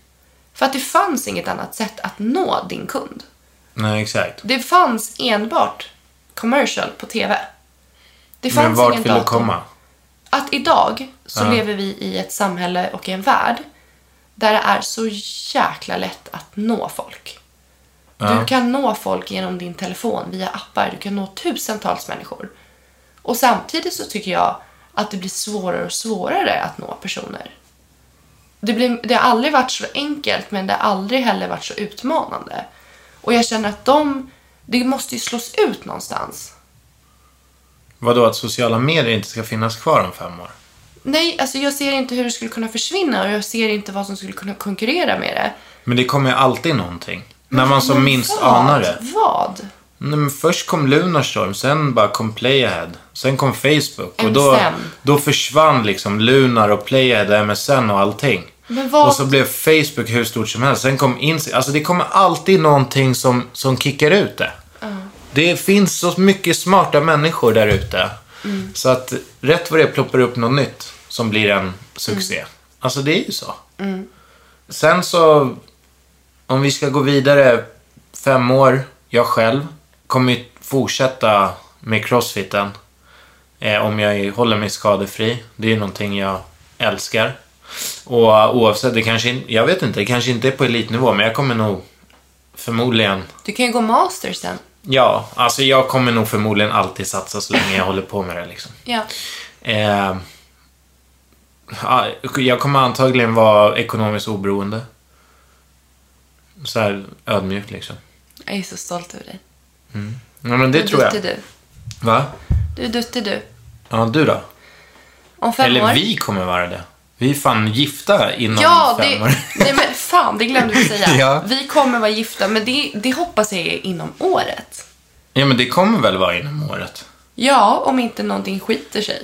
Speaker 1: För att det fanns inget annat sätt att nå din kund.
Speaker 2: Nej, exakt.
Speaker 1: Det fanns enbart commercial på TV. Det fanns
Speaker 2: Men vart
Speaker 1: ingen
Speaker 2: vill du
Speaker 1: dator.
Speaker 2: komma?
Speaker 1: Att idag så lever vi i ett samhälle och i en värld där det är så jäkla lätt att nå folk. Du kan nå folk genom din telefon via appar. Du kan nå tusentals människor. Och samtidigt så tycker jag att det blir svårare och svårare att nå personer. Det, blir, det har aldrig varit så enkelt, men det har aldrig heller varit så utmanande. Och jag känner att de, det måste ju slås ut någonstans.
Speaker 2: Vadå, att sociala medier inte ska finnas kvar om fem år?
Speaker 1: Nej, alltså jag ser inte hur det skulle kunna försvinna och jag ser inte vad som skulle kunna konkurrera med det.
Speaker 2: Men det kommer ju alltid någonting. När man som
Speaker 1: Men
Speaker 2: minst
Speaker 1: vad?
Speaker 2: anar det.
Speaker 1: Vad?
Speaker 2: Nej, men först kom Lunarstorm, sen bara kom Playahead. Sen kom Facebook och då,
Speaker 1: MSN.
Speaker 2: då försvann liksom Lunar och Playahead, MSN och allting.
Speaker 1: Men vad-
Speaker 2: Och så blev Facebook hur stort som helst. Sen kom Instagram. Alltså det kommer alltid någonting som, som kickar ut det. Det finns så mycket smarta människor där ute.
Speaker 1: Mm.
Speaker 2: Så att rätt vad det är ploppar upp något nytt som blir en succé.
Speaker 1: Mm.
Speaker 2: Alltså det är ju så. Sen så, om vi ska gå vidare fem år, jag själv, kommer ju fortsätta med crossfiten. Eh, om jag håller mig skadefri. Det är ju någonting jag älskar. Och eh, oavsett, det kanske, in- jag vet inte, det kanske inte är på elitnivå, men jag kommer nog förmodligen
Speaker 1: Du kan ju gå master sen.
Speaker 2: Ja, alltså jag kommer nog förmodligen alltid satsa så länge jag håller på med det liksom.
Speaker 1: Ja.
Speaker 2: Eh, ja, jag kommer antagligen vara ekonomiskt oberoende. Så här ödmjuk liksom.
Speaker 1: Jag är så stolt över dig.
Speaker 2: Ja, men det tror jag.
Speaker 1: Du är duttig
Speaker 2: Va?
Speaker 1: du. Du är duttig du.
Speaker 2: Ja, du då?
Speaker 1: Om fem år.
Speaker 2: Eller vi kommer vara det. Vi är fan gifta innan
Speaker 1: Ja,
Speaker 2: fem
Speaker 1: det,
Speaker 2: år.
Speaker 1: nej men fan, det glömde vi säga.
Speaker 2: Ja.
Speaker 1: Vi kommer vara gifta, men det, det hoppas jag är inom året.
Speaker 2: Ja, men det kommer väl vara inom året?
Speaker 1: Ja, om inte någonting skiter sig.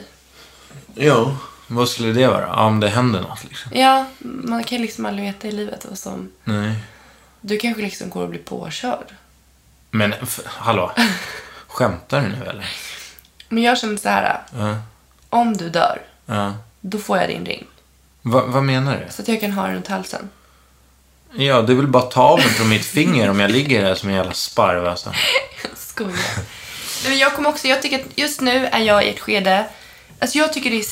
Speaker 2: Jo. Vad skulle det vara? Ja, om det händer något liksom.
Speaker 1: Ja, man kan liksom aldrig veta i livet vad som...
Speaker 2: Nej.
Speaker 1: Du kanske liksom går och blir påkörd.
Speaker 2: Men, f- hallå. Skämtar du nu eller?
Speaker 1: Men jag känner så här.
Speaker 2: Ja.
Speaker 1: om du dör,
Speaker 2: Ja.
Speaker 1: då får jag din ring.
Speaker 2: Va, vad menar du?
Speaker 1: Så att jag kan ha den runt halsen.
Speaker 2: Ja, det är väl bara ta av den från mitt finger om jag ligger där som en jävla sparv alltså.
Speaker 1: Jag skojar. Nej, men jag kommer också, jag tycker att just nu är jag i ett skede, alltså jag tycker det är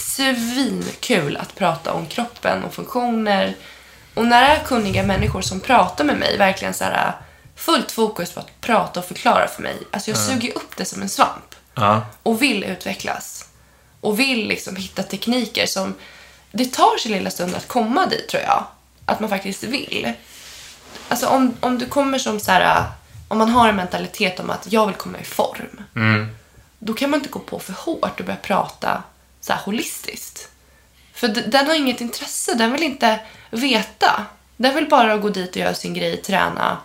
Speaker 1: svinkul att prata om kroppen och funktioner. Och när det är kunniga människor som pratar med mig, verkligen så här fullt fokus på att prata och förklara för mig. Alltså jag suger upp det som en svamp.
Speaker 2: Ja.
Speaker 1: Och vill utvecklas. Och vill liksom hitta tekniker som, det tar sin lilla stund att komma dit tror jag. Att man faktiskt vill. Alltså om, om du kommer som så här, äh, om man har en mentalitet om att jag vill komma i form.
Speaker 2: Mm.
Speaker 1: Då kan man inte gå på för hårt och börja prata så här holistiskt. För d- den har inget intresse, den vill inte veta. Den vill bara gå dit och göra sin grej, träna.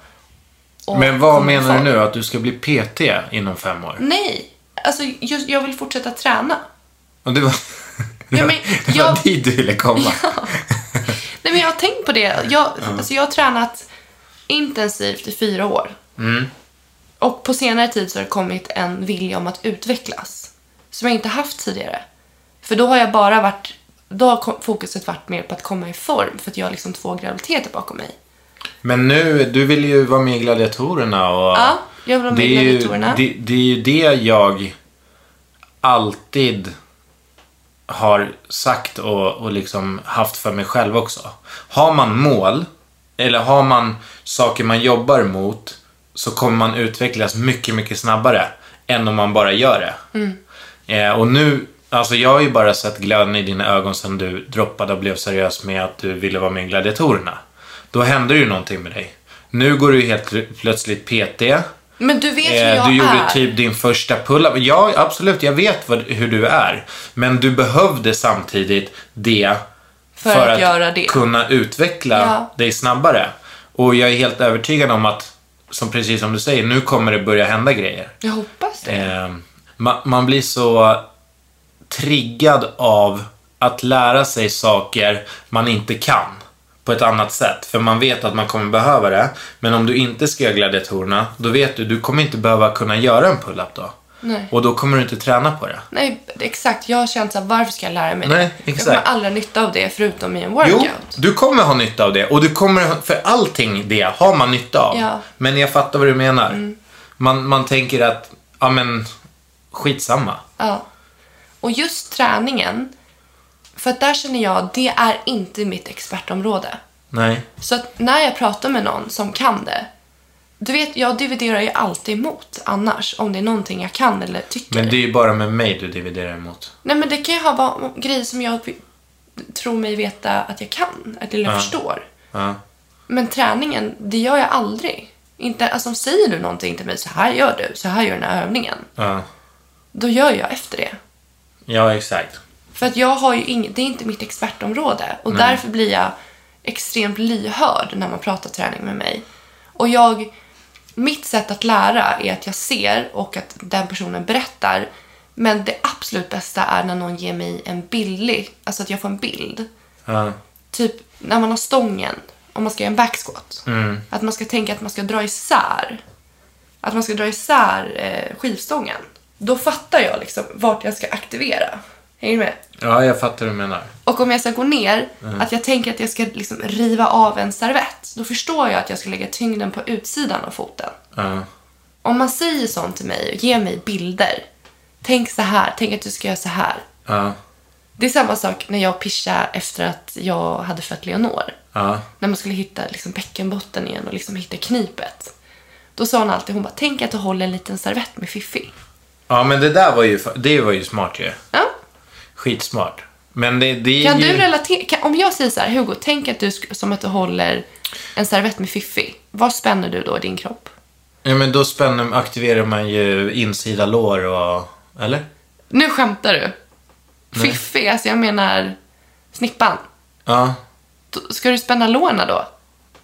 Speaker 1: och
Speaker 2: Men vad
Speaker 1: komma i
Speaker 2: menar du
Speaker 1: form.
Speaker 2: nu? Att du ska bli PT inom fem år?
Speaker 1: Nej, alltså just, jag vill fortsätta träna.
Speaker 2: Och det var...
Speaker 1: Ja, men
Speaker 2: det var
Speaker 1: jag-
Speaker 2: dit du ville komma.
Speaker 1: Nej men jag har tänkt på det. Jag, alltså, jag har tränat intensivt i fyra år.
Speaker 2: Mm.
Speaker 1: Och på senare tid så har det kommit en vilja om att utvecklas. Som jag inte haft tidigare. För då har jag bara varit, då har kom- fokuset varit mer på att komma i form. För att jag har liksom två graviditeter bakom mig.
Speaker 2: Men nu, du vill ju vara med i Gladiatorerna och...
Speaker 1: Ja, jag vill vara med
Speaker 2: det
Speaker 1: i
Speaker 2: är ju-
Speaker 1: Gladiatorerna.
Speaker 2: Det, det är ju det jag alltid har sagt och, och liksom haft för mig själv också. Har man mål, eller har man saker man jobbar mot, så kommer man utvecklas mycket, mycket snabbare än om man bara gör det. Eh, och nu, alltså jag har ju bara sett glöden i dina ögon sen du droppade och blev seriös med att du ville vara med i Gladiatorerna. Då hände ju någonting med dig. Nu går du ju helt plötsligt PT.
Speaker 1: Men du vet hur
Speaker 2: Eh,
Speaker 1: jag
Speaker 2: du gjorde
Speaker 1: är.
Speaker 2: typ din första pull-up. Ja, absolut, jag vet vad, hur du är. Men du behövde samtidigt det
Speaker 1: För att göra det.
Speaker 2: kunna utveckla
Speaker 1: Ja.
Speaker 2: dig snabbare. Och jag är helt övertygad om att, som precis som du säger, nu kommer det börja hända grejer.
Speaker 1: Jag hoppas det.
Speaker 2: Eh, man, man blir så triggad av att lära sig saker man inte kan på ett annat sätt. För man vet att man kommer behöva det. Men om du inte ska göra gladiatorerna, då vet du, du kommer inte behöva kunna göra en pull-up då.
Speaker 1: Nej.
Speaker 2: Och då kommer du inte träna på det.
Speaker 1: Nej, exakt. Jag har känt såhär, varför ska jag lära mig
Speaker 2: Nej,
Speaker 1: det?
Speaker 2: exakt.
Speaker 1: Jag kommer aldrig ha nytta av det förutom i en workout.
Speaker 2: Jo, du kommer ha nytta av det. Och du kommer, för allting det har man nytta av.
Speaker 1: Ja. Mm.
Speaker 2: Men jag fattar vad du menar. Man, man tänker att, ja men, skitsamma.
Speaker 1: Ja. Och just träningen, för att där känner jag, det är inte mitt expertområde.
Speaker 2: Nej.
Speaker 1: Så att när jag pratar med någon som kan det. Du vet, jag dividerar ju alltid emot annars. Om det är någonting jag kan eller tycker.
Speaker 2: Men det är ju bara med mig du dividerar emot.
Speaker 1: Nej men det kan ju ha va- grejer som jag v- tror mig veta att jag kan, att eller
Speaker 2: Ja.
Speaker 1: förstår.
Speaker 2: Ja.
Speaker 1: Men träningen, det gör jag aldrig. Inte, alltså säger du någonting till mig, så här gör du, så här gör den här övningen.
Speaker 2: Ja,
Speaker 1: Då gör jag efter det.
Speaker 2: ja exakt.
Speaker 1: För att jag har ju inget, det är inte mitt expertområde och därför blir jag extremt lyhörd när man pratar träning med mig. Och jag, mitt sätt att lära är att jag ser och att den personen berättar. Men det absolut bästa är när någon ger mig en billig, alltså att jag får en bild.
Speaker 2: Ja.
Speaker 1: Typ när man har stången, om man ska göra en backsquat. Att man ska tänka att man ska dra isär. Att man ska dra isär eh, skivstången. Då fattar jag liksom vart jag ska aktivera. Hänger du med?
Speaker 2: ja, jag fattar hur du menar.
Speaker 1: Och om jag ska gå ner, att jag tänker att jag ska liksom riva av en servett, då förstår jag att jag ska lägga tyngden på utsidan av foten.
Speaker 2: Ja.
Speaker 1: Om man säger sånt till mig och ger mig bilder, tänk så här, tänk att du ska göra så här.
Speaker 2: Ja.
Speaker 1: Det är samma sak när jag pischade efter att jag hade fött Leonor.
Speaker 2: Ja.
Speaker 1: När man skulle hitta liksom bäckenbotten igen och liksom hitta knipet. Då sa hon alltid, hon bara, tänk att du håller en liten servett med fiffi.
Speaker 2: ja, men det där var ju, fa- det var ju smart ju.
Speaker 1: Ja.
Speaker 2: Skitsmart. Men det, det är
Speaker 1: Kan
Speaker 2: ju...
Speaker 1: du relatera? Kan, om jag säger så här, Hugo, tänk att du sk- som att du håller en servett med fiffi. Var spänner du då din kropp?
Speaker 2: Ja, men då spänner, aktiverar man ju insida lår och... Eller?
Speaker 1: Nu skämtar du. Fiffi, alltså jag menar snippan.
Speaker 2: Ja.
Speaker 1: Då- Ska du spänna lårna då?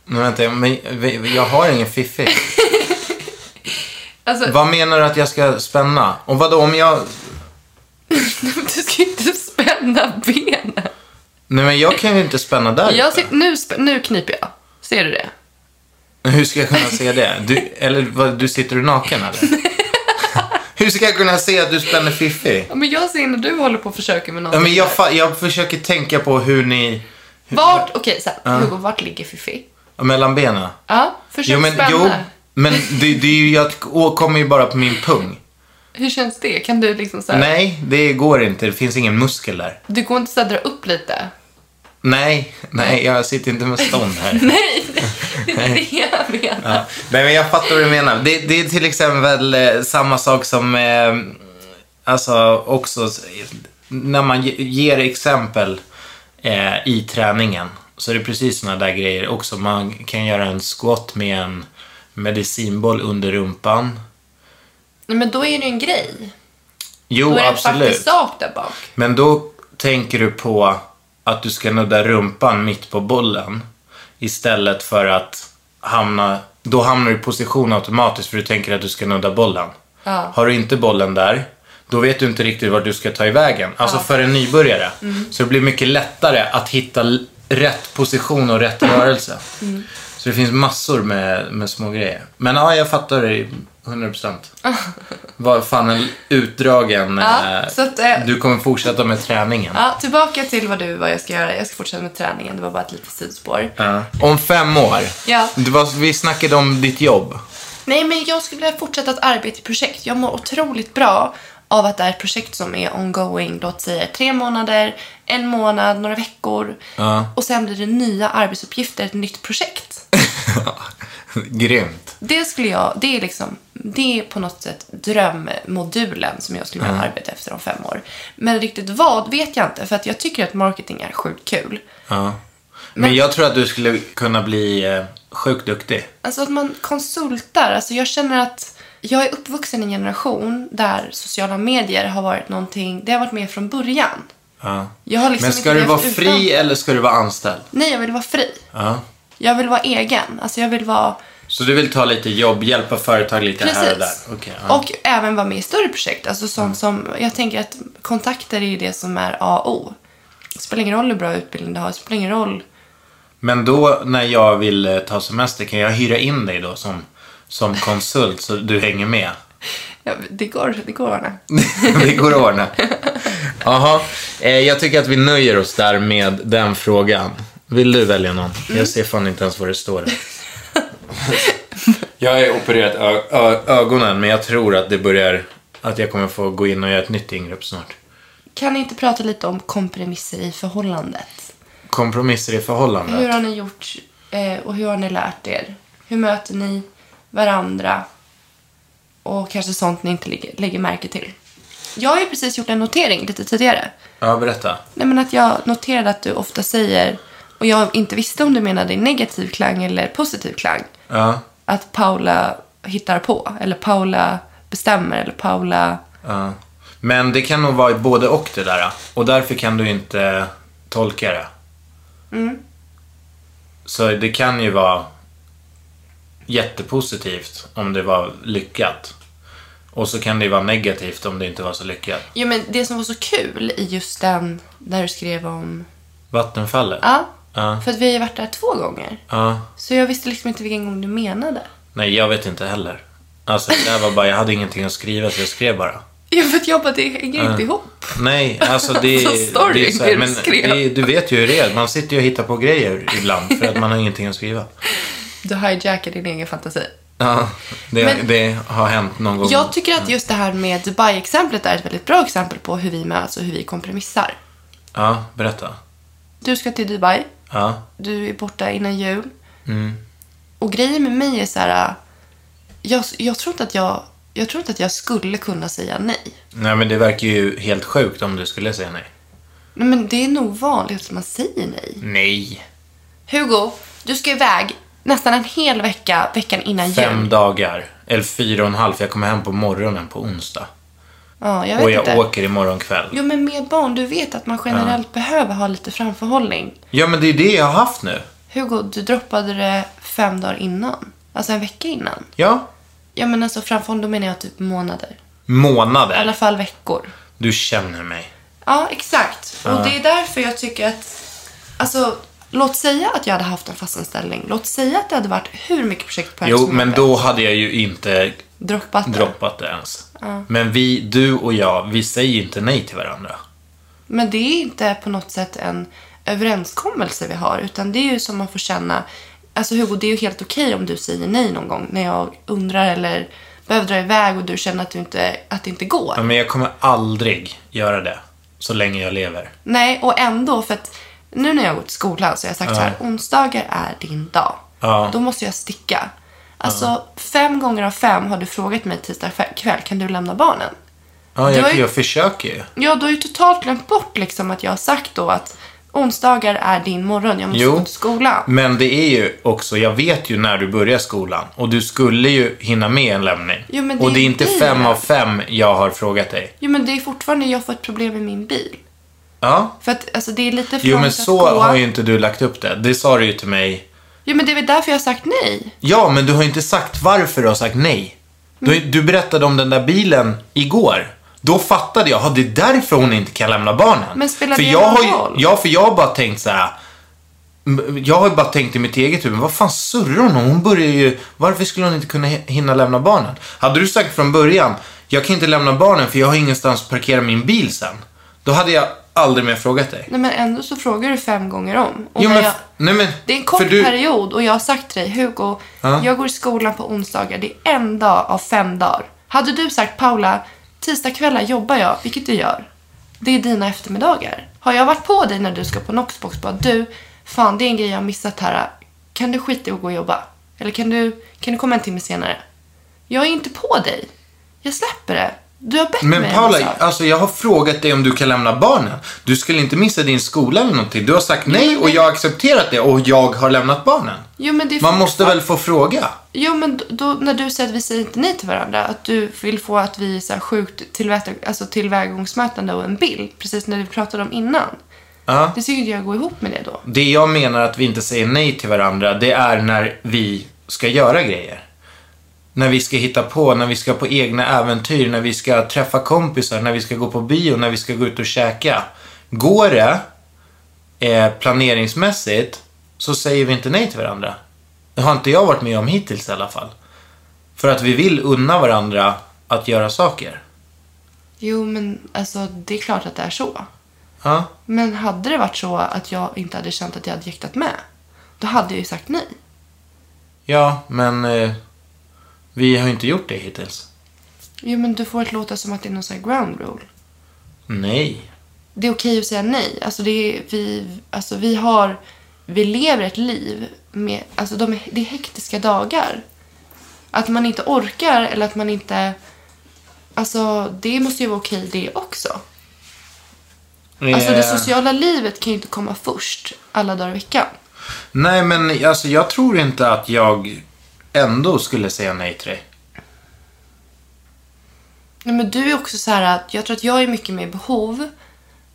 Speaker 2: Men vänta, jag- men vi- jag har ingen fiffig.
Speaker 1: Alltså,
Speaker 2: Vad menar du att jag ska spänna? Och vadå om jag...
Speaker 1: du ska inte spänna benen.
Speaker 2: Nej men jag kan ju inte spänna där
Speaker 1: Jag
Speaker 2: uppe.
Speaker 1: ser, nu, spä- nu kniper jag. Ser du det?
Speaker 2: Hur ska jag kunna se det? Du, eller vad, du sitter du naken eller? Hur ska jag kunna se att du spänner fiffig?
Speaker 1: Ja, men jag ser när du håller på och försöker med
Speaker 2: Ja,
Speaker 1: någonting.
Speaker 2: men jag, fa- jag försöker tänka på hur ni...
Speaker 1: Vart, okej så här, Hugo, vart ligger fiffi?
Speaker 2: Mellan benen.
Speaker 1: Ja, försök
Speaker 2: Jo men,
Speaker 1: spänna.
Speaker 2: jo, men det, det är ju, jag åkommer ju bara på min pung.
Speaker 1: Hur känns det? Kan du liksom så här,
Speaker 2: Nej, det går inte. Det finns ingen muskel där.
Speaker 1: du går inte så här, dra upp lite?
Speaker 2: Nej, nej, jag sitter inte med stånd här.
Speaker 1: Nej, det är det jag menar.
Speaker 2: Ja. Nej, men jag fattar vad du menar. Det, det är till exempel eh, samma sak som, eh, alltså också, s- när man ge- ger exempel eh, i träningen så är det precis såna där grejer också. Man kan göra en squat med en medicinboll under rumpan.
Speaker 1: Nej, Men då är det ju en grej.
Speaker 2: Jo,
Speaker 1: Då är det en
Speaker 2: Oh, absolut.
Speaker 1: faktisk sak där bak.
Speaker 2: Men då tänker du på att du ska nudda rumpan mitt på bollen istället för att hamna... Då hamnar du i position automatiskt för du tänker att du ska nudda bollen.
Speaker 1: Ja.
Speaker 2: Har du inte bollen där, då vet du inte riktigt vart du ska ta i vägen. Alltså för en nybörjare.
Speaker 1: Mm.
Speaker 2: Så det blir mycket lättare att hitta l- rätt position och rätt rörelse.
Speaker 1: Mm.
Speaker 2: Så det finns massor med, med små grejer. Men ja, jag fattar det 100%. Vad fan en utdragen...
Speaker 1: Ja,
Speaker 2: eh,
Speaker 1: så att, eh,
Speaker 2: du kommer fortsätta med träningen.
Speaker 1: Ja, tillbaka till vad du vad jag ska göra. Jag ska fortsätta med träningen. Det var bara ett litet sidospår.
Speaker 2: Ja. Om fem år.
Speaker 1: Ja.
Speaker 2: Det var, vi snackade om ditt jobb.
Speaker 1: Nej, men jag skulle vilja fortsätta att arbeta i projekt. Jag mår otroligt bra av att det är ett projekt som är ongoing, låt säga tre månader, en månad, några veckor. Och sen blir det nya arbetsuppgifter, ett nytt projekt.
Speaker 2: Grymt.
Speaker 1: Det skulle jag, det är liksom, det är på något sätt drömmodulen som jag skulle vilja
Speaker 2: Mm.
Speaker 1: arbeta efter om fem år. Men riktigt vad vet jag inte, för att jag tycker att marketing är sjukt kul.
Speaker 2: Ja. Men, jag tror att du skulle kunna bli eh, sjukt duktig.
Speaker 1: Alltså att man konsultar. Alltså jag känner att jag är uppvuxen i en generation där sociala medier har varit någonting, det har varit med från början.
Speaker 2: Ja.
Speaker 1: Jag har liksom
Speaker 2: Men ska
Speaker 1: inte
Speaker 2: du vara
Speaker 1: levt
Speaker 2: fri
Speaker 1: utan-
Speaker 2: eller ska du vara anställd?
Speaker 1: Nej, jag vill vara fri.
Speaker 2: Ja.
Speaker 1: Jag vill vara egen. Alltså jag vill vara...
Speaker 2: Så du vill ta lite jobb, hjälpa företag lite här och där?
Speaker 1: Precis.
Speaker 2: Okej, ja. Mm.
Speaker 1: Och även vara med i större projekt. Alltså sånt som, jag tänker att kontakter är ju det som är A och O. Det spelar ingen roll hur bra utbildning du har, det spelar ingen roll.
Speaker 2: Men då när jag vill eh, ta semester, kan jag hyra in dig då som, som konsult så du hänger med?
Speaker 1: Ja, det går, det går Arne.
Speaker 2: det går att ordna. Jaha, eh, jag tycker att vi nöjer oss där med den frågan. Vill du välja någon?
Speaker 1: Mm.
Speaker 2: Jag ser fan inte ens vad det står där. jag har ju opererat ö- ö- ögonen, men jag tror att det börjar... Att jag kommer få gå in och göra ett nytt ingrepp snart.
Speaker 1: Kan ni inte prata lite om kompromisser i förhållandet?
Speaker 2: kompromisser i förhållandet.
Speaker 1: Hur har ni gjort eh, och hur har ni lärt er? Hur möter ni varandra? Och kanske sånt ni inte lägger, lägger märke till. Jag har ju precis gjort en notering lite tidigare.
Speaker 2: Ja, berätta.
Speaker 1: Nej, men att jag noterade att du ofta säger, och jag inte visste om du menade i negativ klang eller positiv klang,
Speaker 2: Ja,
Speaker 1: att Paula hittar på. Eller Paula bestämmer. Eller Paula...
Speaker 2: ja. Men det kan nog vara i både och det där. Och därför kan du inte tolka det.
Speaker 1: Mm.
Speaker 2: Så det kan ju vara jättepositivt om det var lyckat. Och så kan det ju vara negativt om det inte var så lyckat.
Speaker 1: Jo, men det som var så kul i just den där du skrev om...
Speaker 2: Vattenfallet?
Speaker 1: Ja.
Speaker 2: Ja.
Speaker 1: För att vi har ju varit där två gånger.
Speaker 2: ja.
Speaker 1: Så jag visste liksom inte vilken gång du menade.
Speaker 2: Nej, jag vet inte heller. Alltså, det där var bara, jag hade ingenting att skriva så jag skrev bara.
Speaker 1: Ja, för att jag bara, det hänger inte ihop.
Speaker 2: Nej, alltså det,
Speaker 1: Så story,
Speaker 2: det är så här,
Speaker 1: det du
Speaker 2: men
Speaker 1: skrev.
Speaker 2: det, du vet ju hur det är. Man sitter ju och hittar på grejer ibland för att man har ingenting att skriva.
Speaker 1: Du hijackar din egen fantasi.
Speaker 2: Ja, det,
Speaker 1: Men-
Speaker 2: det har hänt någon gång.
Speaker 1: Jag tycker att just det här med Dubai-exemplet är ett väldigt bra exempel på hur vi möts och hur vi kompromissar.
Speaker 2: Ja, berätta.
Speaker 1: Du ska till Dubai,
Speaker 2: Ja,
Speaker 1: du är borta innan jul.
Speaker 2: Mm.
Speaker 1: Och grejen med mig är så här, jag, jag, tror inte att jag, jag tror inte att jag skulle kunna säga nej.
Speaker 2: nej men det verkar ju helt sjukt om du skulle säga nej.
Speaker 1: Nej, Men det är nog vanligt att man säger nej.
Speaker 2: Nej.
Speaker 1: Hugo, du ska iväg nästan en hel vecka, veckan innan
Speaker 2: Fem
Speaker 1: jul.
Speaker 2: dagar. Eller fyra och en halv, för jag kommer hem på morgonen på onsdag.
Speaker 1: Ja, jag vet
Speaker 2: Och jag
Speaker 1: inte.
Speaker 2: åker imorgon kväll.
Speaker 1: Jo, men med barn, du vet att man generellt behöver ha lite framförhållning.
Speaker 2: Ja, men det är det jag har haft nu.
Speaker 1: Hugo, du droppade det fem dagar innan. Alltså en vecka innan.
Speaker 2: Ja.
Speaker 1: Ja, men alltså framförhållning, då menar jag typ månader.
Speaker 2: Månader.
Speaker 1: I alla fall veckor.
Speaker 2: Du känner mig.
Speaker 1: Ja, exakt. Och det är därför jag tycker att... Alltså, låt säga att jag hade haft en fastanställning. Låt säga att det hade varit hur mycket projekt på
Speaker 2: Jo, men då hade jag ju inte
Speaker 1: Droppat det.
Speaker 2: droppat det ens. Men vi, du och jag, vi säger inte nej till varandra.
Speaker 1: Men det är inte på något sätt en överenskommelse vi har, utan det är ju som man får känna. Alltså Hugo, det är ju helt okej om du säger nej någon gång när jag undrar eller behöver dra iväg och du känner att, du inte, att det inte går.
Speaker 2: Ja, Men jag kommer aldrig göra det så länge jag lever.
Speaker 1: Nej, och ändå, för att nu när jag har gått i skolan så har jag sagt så här, onsdagar är din dag.
Speaker 2: Ja.
Speaker 1: Då måste jag sticka. Alltså, fem gånger av fem har du frågat mig tisdag kväll, kan du lämna barnen?
Speaker 2: Ja,
Speaker 1: Du har
Speaker 2: jag,
Speaker 1: ju-
Speaker 2: jag försöker ju.
Speaker 1: Ja, du har ju totalt glömt bort liksom att jag har sagt då att onsdagar är din morgon, jag måste gå
Speaker 2: Jo,
Speaker 1: till skolan.
Speaker 2: men det är ju också, jag vet ju när du börjar skolan och du skulle ju hinna med en lämning.
Speaker 1: Jo, men det
Speaker 2: och
Speaker 1: är
Speaker 2: det är
Speaker 1: ju
Speaker 2: inte
Speaker 1: vi.
Speaker 2: fem av fem jag har frågat dig.
Speaker 1: Jo, men det är fortfarande jag får ett problem med min bil.
Speaker 2: Ja.
Speaker 1: För att alltså, det är lite för
Speaker 2: Jo,
Speaker 1: långt
Speaker 2: men
Speaker 1: att
Speaker 2: så
Speaker 1: gå.
Speaker 2: har ju inte du lagt upp det. Det sa du ju till mig.
Speaker 1: Jo, men det är väl därför jag har sagt nej.
Speaker 2: Ja, men du har ju inte sagt varför du har sagt nej. Du,
Speaker 1: Mm.
Speaker 2: du berättade om den där bilen igår. Då fattade jag, "Ja, det är därför hon inte kan lämna barnen.
Speaker 1: Men spelar
Speaker 2: för
Speaker 1: det
Speaker 2: jag
Speaker 1: någon
Speaker 2: har ju,
Speaker 1: roll?
Speaker 2: Ja, för jag har bara tänkt så här. m- Jag har ju bara tänkt i mitt eget huvud, vad fan surrar hon om? Hon börjar ju... Varför skulle hon inte kunna he- hinna lämna barnen? Hade du sagt från början, jag kan inte lämna barnen för jag har ingenstans att parkera min bil sen. Då hade jag aldrig mer frågat dig.
Speaker 1: Nej, men ändå så frågar du fem gånger om. Och
Speaker 2: Jo,
Speaker 1: när
Speaker 2: men,
Speaker 1: jag...
Speaker 2: nej, men,
Speaker 1: Det är en kort
Speaker 2: för du-
Speaker 1: period och jag har sagt till dig, Hugo, jag går i skolan på onsdagar. Det är en dag av fem dagar. Hade du sagt, Paula, tisdagkvällar jobbar jag, vilket du gör. Det är dina eftermiddagar. Har jag varit på dig när du ska på Noxbox bara, du, fan det är en grej jag har missat här. Kan du skita i att gå och jobba? Eller kan du, kan du komma en timme senare? Jag är inte på dig. Jag släpper det. Du har bett mig
Speaker 2: Men
Speaker 1: om en
Speaker 2: Paula,
Speaker 1: sak.
Speaker 2: alltså jag har frågat dig om du kan lämna barnen. Du skulle inte missa din skola eller någonting. Du har sagt nej och jag har accepterat det och jag har lämnat barnen.
Speaker 1: Jo, men det är
Speaker 2: Man måste
Speaker 1: fortfarande-
Speaker 2: väl få fråga?
Speaker 1: Jo, men då- då, när du säger att vi säger inte nej till varandra, att du vill få att vi är så här sjukt tillväta, alltså tillvägagångsmötande och en bild, precis när vi pratade om innan.
Speaker 2: Ja.
Speaker 1: Det tycker inte jag går ihop med det då.
Speaker 2: Det jag menar att vi inte säger nej till varandra, det är när vi ska göra grejer. När vi ska hitta på, när vi ska på egna äventyr, när vi ska träffa kompisar, när vi ska gå på bio, när vi ska gå ut och käka. Går det eh, planeringsmässigt så säger vi inte nej till varandra. Det har inte jag varit med om hittills i alla fall. För att vi vill unna varandra att göra saker.
Speaker 1: Jo, men alltså det är klart att det är så.
Speaker 2: Ja.
Speaker 1: Men hade det varit så att jag inte hade känt att jag hade jäktat med, då hade jag ju sagt nej.
Speaker 2: Ja, men eh, vi har ju inte gjort det hittills.
Speaker 1: Jo, men du får det låta som att det är någon sån här ground rule.
Speaker 2: Nej.
Speaker 1: det är okej att säga nej. Alltså, det är, vi, alltså vi har, vi lever ett liv med, alltså de, är- det är hektiska dagar. Att man inte orkar eller att man inte, alltså det måste ju vara okej det också. Alltså det
Speaker 2: Eh,
Speaker 1: sociala livet kan ju inte komma först alla dagar i veckan.
Speaker 2: Nej, men alltså, jag tror inte att jag ändå skulle säga nej till dig.
Speaker 1: Nej, men du är också så här att jag tror att jag är mycket mer i behov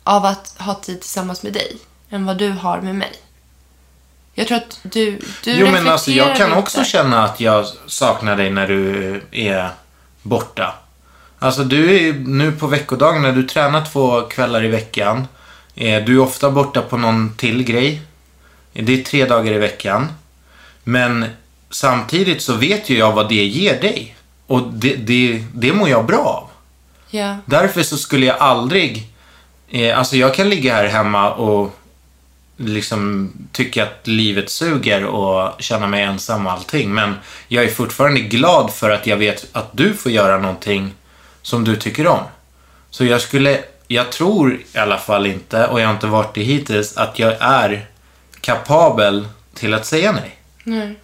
Speaker 1: av att ha tid tillsammans med dig än vad du har med mig. Jag tror att du, du
Speaker 2: Jo, men alltså, jag
Speaker 1: reflekterar
Speaker 2: kan
Speaker 1: inte.
Speaker 2: också känna att jag saknar dig när du är borta. Alltså, du är ju nu på veckodagarna, du tränar två kvällar i veckan. Eh, Du är ofta borta på någon till grej. Det är tre dagar i veckan. Men samtidigt så vet ju jag vad det ger dig. Och det, det, det mår jag bra av.
Speaker 1: Ja.
Speaker 2: Därför så skulle jag aldrig... Eh, alltså jag kan ligga här hemma och liksom tycka att livet suger och känna mig ensam och allting. Men jag är fortfarande glad för att jag vet att du får göra någonting som du tycker om. Så jag skulle... Jag tror i alla fall inte, och jag har inte varit det hittills, att jag är kapabel till att säga nej.
Speaker 1: Nej.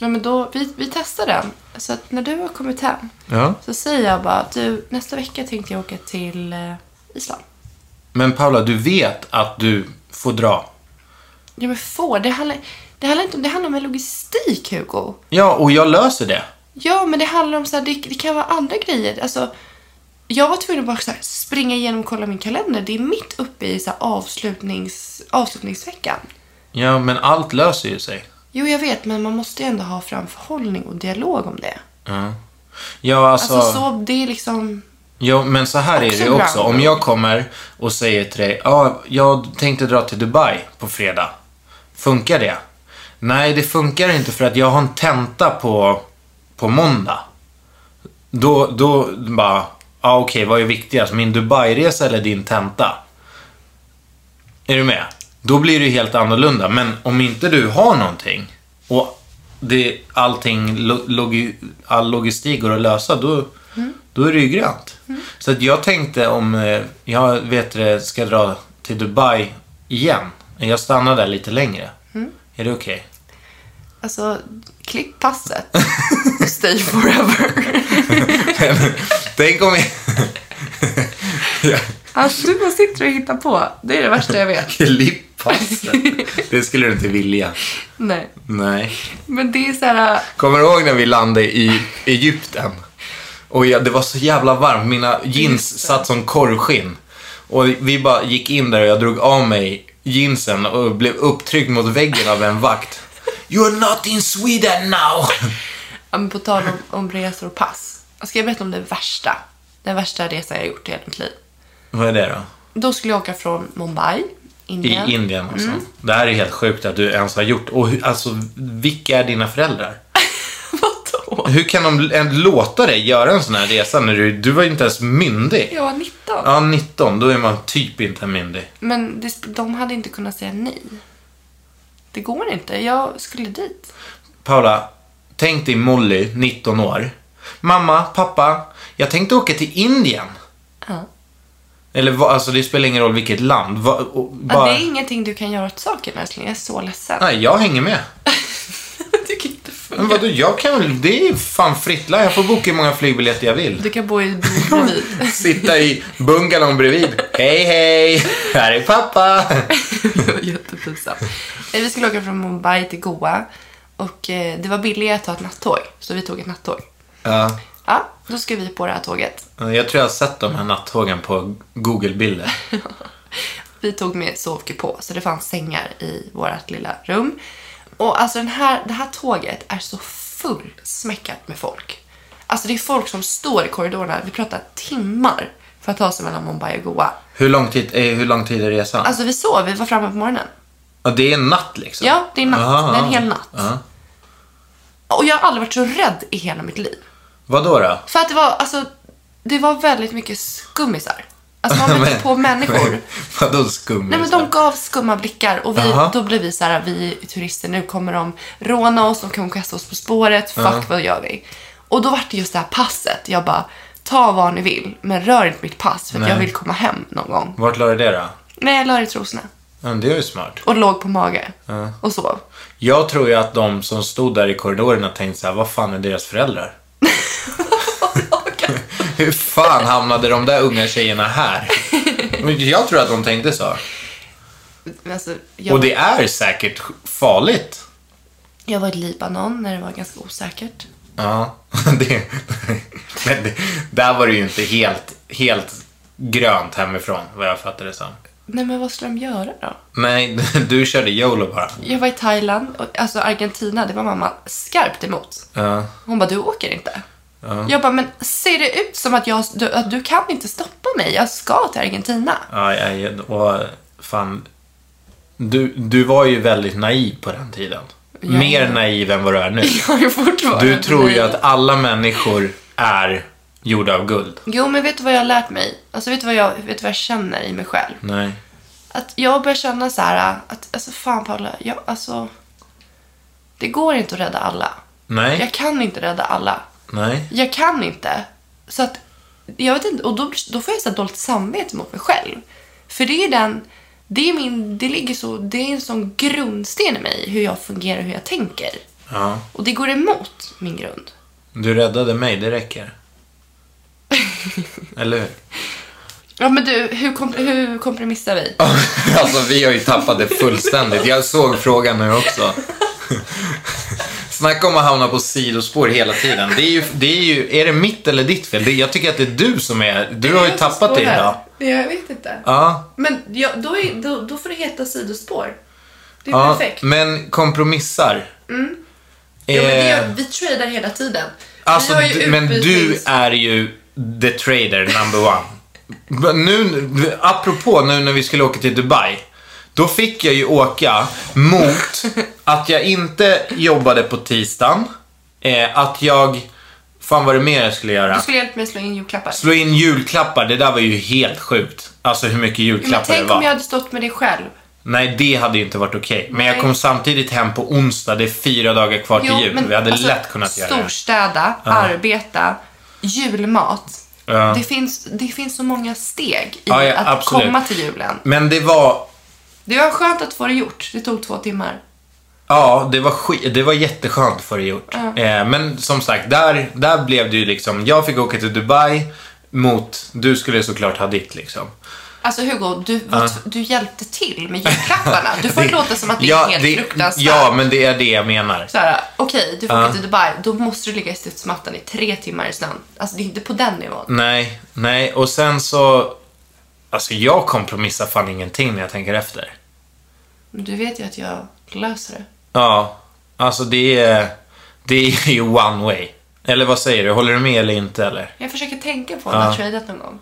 Speaker 1: Nej, men då, vi, vi testar den. Så att när du har kommit hem
Speaker 2: Ja.
Speaker 1: så säger jag bara du, nästa vecka tänkte jag åka till eh, Island.
Speaker 2: Men Paula, du vet att du får dra.
Speaker 1: Ja, men får, det handlar, det handlar inte om, det handlar om en logistik Hugo.
Speaker 2: Ja, och jag löser det.
Speaker 1: Ja, men det handlar om så här, det, det kan vara andra grejer. Alltså, jag var tvungen att bara så här, springa igenom och kolla min kalender. Det är mitt uppe i så här, avslutnings, avslutningsveckan.
Speaker 2: Ja, men allt löser ju sig.
Speaker 1: Jo, jag vet, men man måste ju ändå ha framförhållning och dialog om det.
Speaker 2: Ja, alltså...
Speaker 1: Alltså, så, det är liksom...
Speaker 2: Jo, men så här är det
Speaker 1: Också
Speaker 2: ju också.
Speaker 1: bra.
Speaker 2: Om jag kommer och säger till dig, ja, jag tänkte dra till Dubai på fredag. Funkar det? Nej, det funkar inte för att jag har en tenta på, på måndag. Då, då bara, ja okej, vad är viktigast? Min Dubai-resa eller din tenta? Är du med? Då blir det ju helt annorlunda. Men om inte du har någonting och det, allting, lo, logi, all logistik går att lösa, då, då är det ju grönt. Så att jag tänkte om eh, jag vet det, ska dra till Dubai igen. Jag stannar där lite längre. Är det okej?
Speaker 1: Alltså, klipp passet. Stay forever.
Speaker 2: Tänk om
Speaker 1: Alltså, du bara sitter och hittar på. Det är det värsta jag vet.
Speaker 2: Klippassen. Det skulle du inte vilja.
Speaker 1: Nej.
Speaker 2: Nej.
Speaker 1: Men det är så här...
Speaker 2: Kommer du ihåg när vi landade i Egypten? Och jag, det var så jävla varmt. Mina jeans satt som korvskinn. Och vi bara gick in där och jag drog av mig jeansen och blev upptryckt mot väggen av en vakt. You're not in Sweden now!
Speaker 1: Ja, men på tal om, om resor och pass. Ska jag berätta om det värsta? Den värsta resan jag har gjort i hela mitt liv.
Speaker 2: Vad är det då?
Speaker 1: Då skulle jag åka från Mumbai,
Speaker 2: I
Speaker 1: Indien.
Speaker 2: Indien alltså. Det här är helt sjukt att du ens har gjort. Och hur, alltså, vilka är dina föräldrar?
Speaker 1: Vadå?
Speaker 2: Hur kan de en, låta dig göra en sån här resa när du, du var ju inte ens myndig?
Speaker 1: Jag var 19.
Speaker 2: Ja, 19, då är man typ inte myndig.
Speaker 1: Men det, sp- de hade inte kunnat säga nej. Det går inte. Jag skulle dit.
Speaker 2: Paula, tänk dig Molly, 19 år. Mamma, pappa, jag tänkte åka till Indien.
Speaker 1: Ja.
Speaker 2: Eller vad- alltså det spelar ingen roll vilket land. Va, och,
Speaker 1: Ja,
Speaker 2: bara,
Speaker 1: det är ingenting du kan göra åt saken älskling. Jag är så ledsen.
Speaker 2: Nej, jag hänger med.
Speaker 1: Jag tycker inte
Speaker 2: Men
Speaker 1: funka.
Speaker 2: vadå, jag kan väl, det är fan fritt land. Jag får boka hur många flygbiljetter jag vill.
Speaker 1: Du kan bo i bil bredvid.
Speaker 2: Sitta i bungalown bredvid. Hej, hej! Här är pappa!
Speaker 1: Det var Jättepinsamt. Eh, Vi skulle åka från Mumbai till Goa och eh, det var billigare att ta ett nattåg. Så vi tog ett nattåg.
Speaker 2: Ja,
Speaker 1: Ja, då ska vi på det här tåget.
Speaker 2: jag tror jag har sett de här nattågen på Google-bilder.
Speaker 1: Vi tog med sovkupå, så det fanns sängar i vårt lilla rum. Och alltså den här, det här tåget är så fullsmäckat med folk. Alltså det är folk som står i korridorerna, vi pratar timmar för att ta sig mellan Mumbai och Goa.
Speaker 2: Hur lång tid, eh, hur lång tid är resan?
Speaker 1: Alltså vi sov, vi var framme på morgonen.
Speaker 2: ja, det är en natt liksom?
Speaker 1: Ja, det är natt.
Speaker 2: Aha,
Speaker 1: det är en
Speaker 2: aha.
Speaker 1: hel natt.
Speaker 2: Ja.
Speaker 1: Och jag har aldrig varit så rädd i hela mitt liv.
Speaker 2: Vadå då?
Speaker 1: För att det var, alltså, det var väldigt mycket skummisar. Alltså man blev på människor.
Speaker 2: Vadå skummisar?
Speaker 1: Nej men de gav skumma blickar och vi,
Speaker 2: Jaha.
Speaker 1: då blev vi så här, vi är turister, nu kommer de råna oss, de kommer kasta oss på spåret, fuck vad gör vi? Och då vart det just det här passet, jag bara, ta vad ni vill, men rör inte mitt pass för att jag
Speaker 2: Nej.
Speaker 1: vill komma hem någon gång.
Speaker 2: Vart la du det då?
Speaker 1: Nej, jag la det i trosorna.
Speaker 2: Ja, det är ju smart.
Speaker 1: Och låg på mage. Och sov.
Speaker 2: Jag tror ju att de som stod där i korridorerna tänkte så här, vad fan är deras föräldrar? Hur fan hamnade de där unga tjejerna här? Men Jag tror att de tänkte så.
Speaker 1: Men Alltså, jag,
Speaker 2: Och det är säkert farligt.
Speaker 1: jag var i Libanon när det var ganska osäkert.
Speaker 2: Ja, det, men det, där var det ju inte helt, helt grönt hemifrån, vad jag fattade det som.
Speaker 1: Nej, men vad skulle de göra då?
Speaker 2: Nej, du körde YOLO bara.
Speaker 1: Jag var i Thailand, och, alltså Argentina, det var mamma skarpt emot.
Speaker 2: Ja.
Speaker 1: Hon bara, du åker inte. Jag bara, men ser det ut som att, jag, du, att du kan inte stoppa mig? Jag ska till Argentina.
Speaker 2: Aj, aj, och fan. Du, du var ju väldigt naiv på den tiden. Mer naiv än vad du är nu.
Speaker 1: Jag har ju fortfarande...
Speaker 2: Du tror ju att alla människor är gjorda av guld.
Speaker 1: Jo, men vet du vad jag har lärt mig? Alltså, vet du vad jag, vet du vad jag känner i mig själv?
Speaker 2: Nej.
Speaker 1: Att jag börjar känna så här att, alltså fan Paula, jag, alltså... Det går inte att rädda alla.
Speaker 2: Nej.
Speaker 1: Jag kan inte rädda alla.
Speaker 2: Nej.
Speaker 1: Jag kan inte. Så att, jag vet inte, och då, då får jag så här dåligt samvete mot mig själv. För det är den, det är min, det ligger så, det är en sån grundsten i mig, hur jag fungerar och hur jag tänker.
Speaker 2: Ja.
Speaker 1: Och det går emot min grund.
Speaker 2: Du räddade mig, det räcker. Eller hur?
Speaker 1: Ja men du, hur, kom, hur kompromissar vi?
Speaker 2: Alltså vi har ju tappat det fullständigt. Jag såg frågan nu också. Snacka om att hamna på sidospår hela tiden. Det är ju, det är ju, är det mitt eller ditt fel? Det, jag tycker att det är du som är, du har ju tappat det idag.
Speaker 1: Jag vet inte.
Speaker 2: Ja,
Speaker 1: Men ja, då, är, då, då får det heta sidospår. Det är
Speaker 2: ja,
Speaker 1: perfekt. Mm.
Speaker 2: men kompromissar.
Speaker 1: Jo, men det
Speaker 2: Eh,
Speaker 1: gör, vi tradar hela tiden. Vi
Speaker 2: Alltså,
Speaker 1: har ju
Speaker 2: du, men du
Speaker 1: utbytnings-
Speaker 2: är ju the trader number one. Men nu, apropå nu när vi skulle åka till Dubai. Då fick jag ju åka mot att jag inte jobbade på tisdagen. Eh, att jag... Fan vad det mer jag skulle göra?
Speaker 1: Du skulle hjälpa mig slå in julklappar.
Speaker 2: Slå in julklappar, det där var ju helt sjukt. Alltså hur mycket
Speaker 1: men
Speaker 2: julklappar det
Speaker 1: tänk
Speaker 2: var.
Speaker 1: om jag hade stått med dig själv.
Speaker 2: Nej, det hade ju inte varit okej. Men jag
Speaker 1: Nej.
Speaker 2: kom samtidigt hem på onsdag, det är fyra dagar kvar till jul. Vi hade
Speaker 1: alltså,
Speaker 2: lätt kunnat göra det.
Speaker 1: Storstäda, arbeta, julmat.
Speaker 2: Ja.
Speaker 1: Det, finns, det finns så många steg i
Speaker 2: Ja, ja,
Speaker 1: att
Speaker 2: absolut.
Speaker 1: komma till julen.
Speaker 2: Men det var
Speaker 1: Det var skönt att få det gjort. Det tog två timmar.
Speaker 2: Ja, det var, sk- det var jätteskönt för det gjort. Eh, men som sagt, där, där blev det ju liksom... Jag fick åka till Dubai mot... Du skulle såklart ha ditt liksom.
Speaker 1: Alltså Hugo, du, var tv- du hjälpte till med julklapparna. Du får det, låta som att det är helt fruktansvärt.
Speaker 2: Ja, men det är det jag menar.
Speaker 1: Så här, Okej, du får åka till Dubai. Då måste du ligga i studsmattan i tre timmar i snön. Alltså det är inte på den nivån.
Speaker 2: Nej, nej. Och sen så... Alltså jag kompromissar fan ingenting när jag tänker efter.
Speaker 1: Men du vet ju att jag löser det.
Speaker 2: Ja, alltså det är... Det är ju one way. Eller vad säger du? Håller du med eller inte eller?
Speaker 1: Jag försöker tänka på om jag har tradeat någon gång.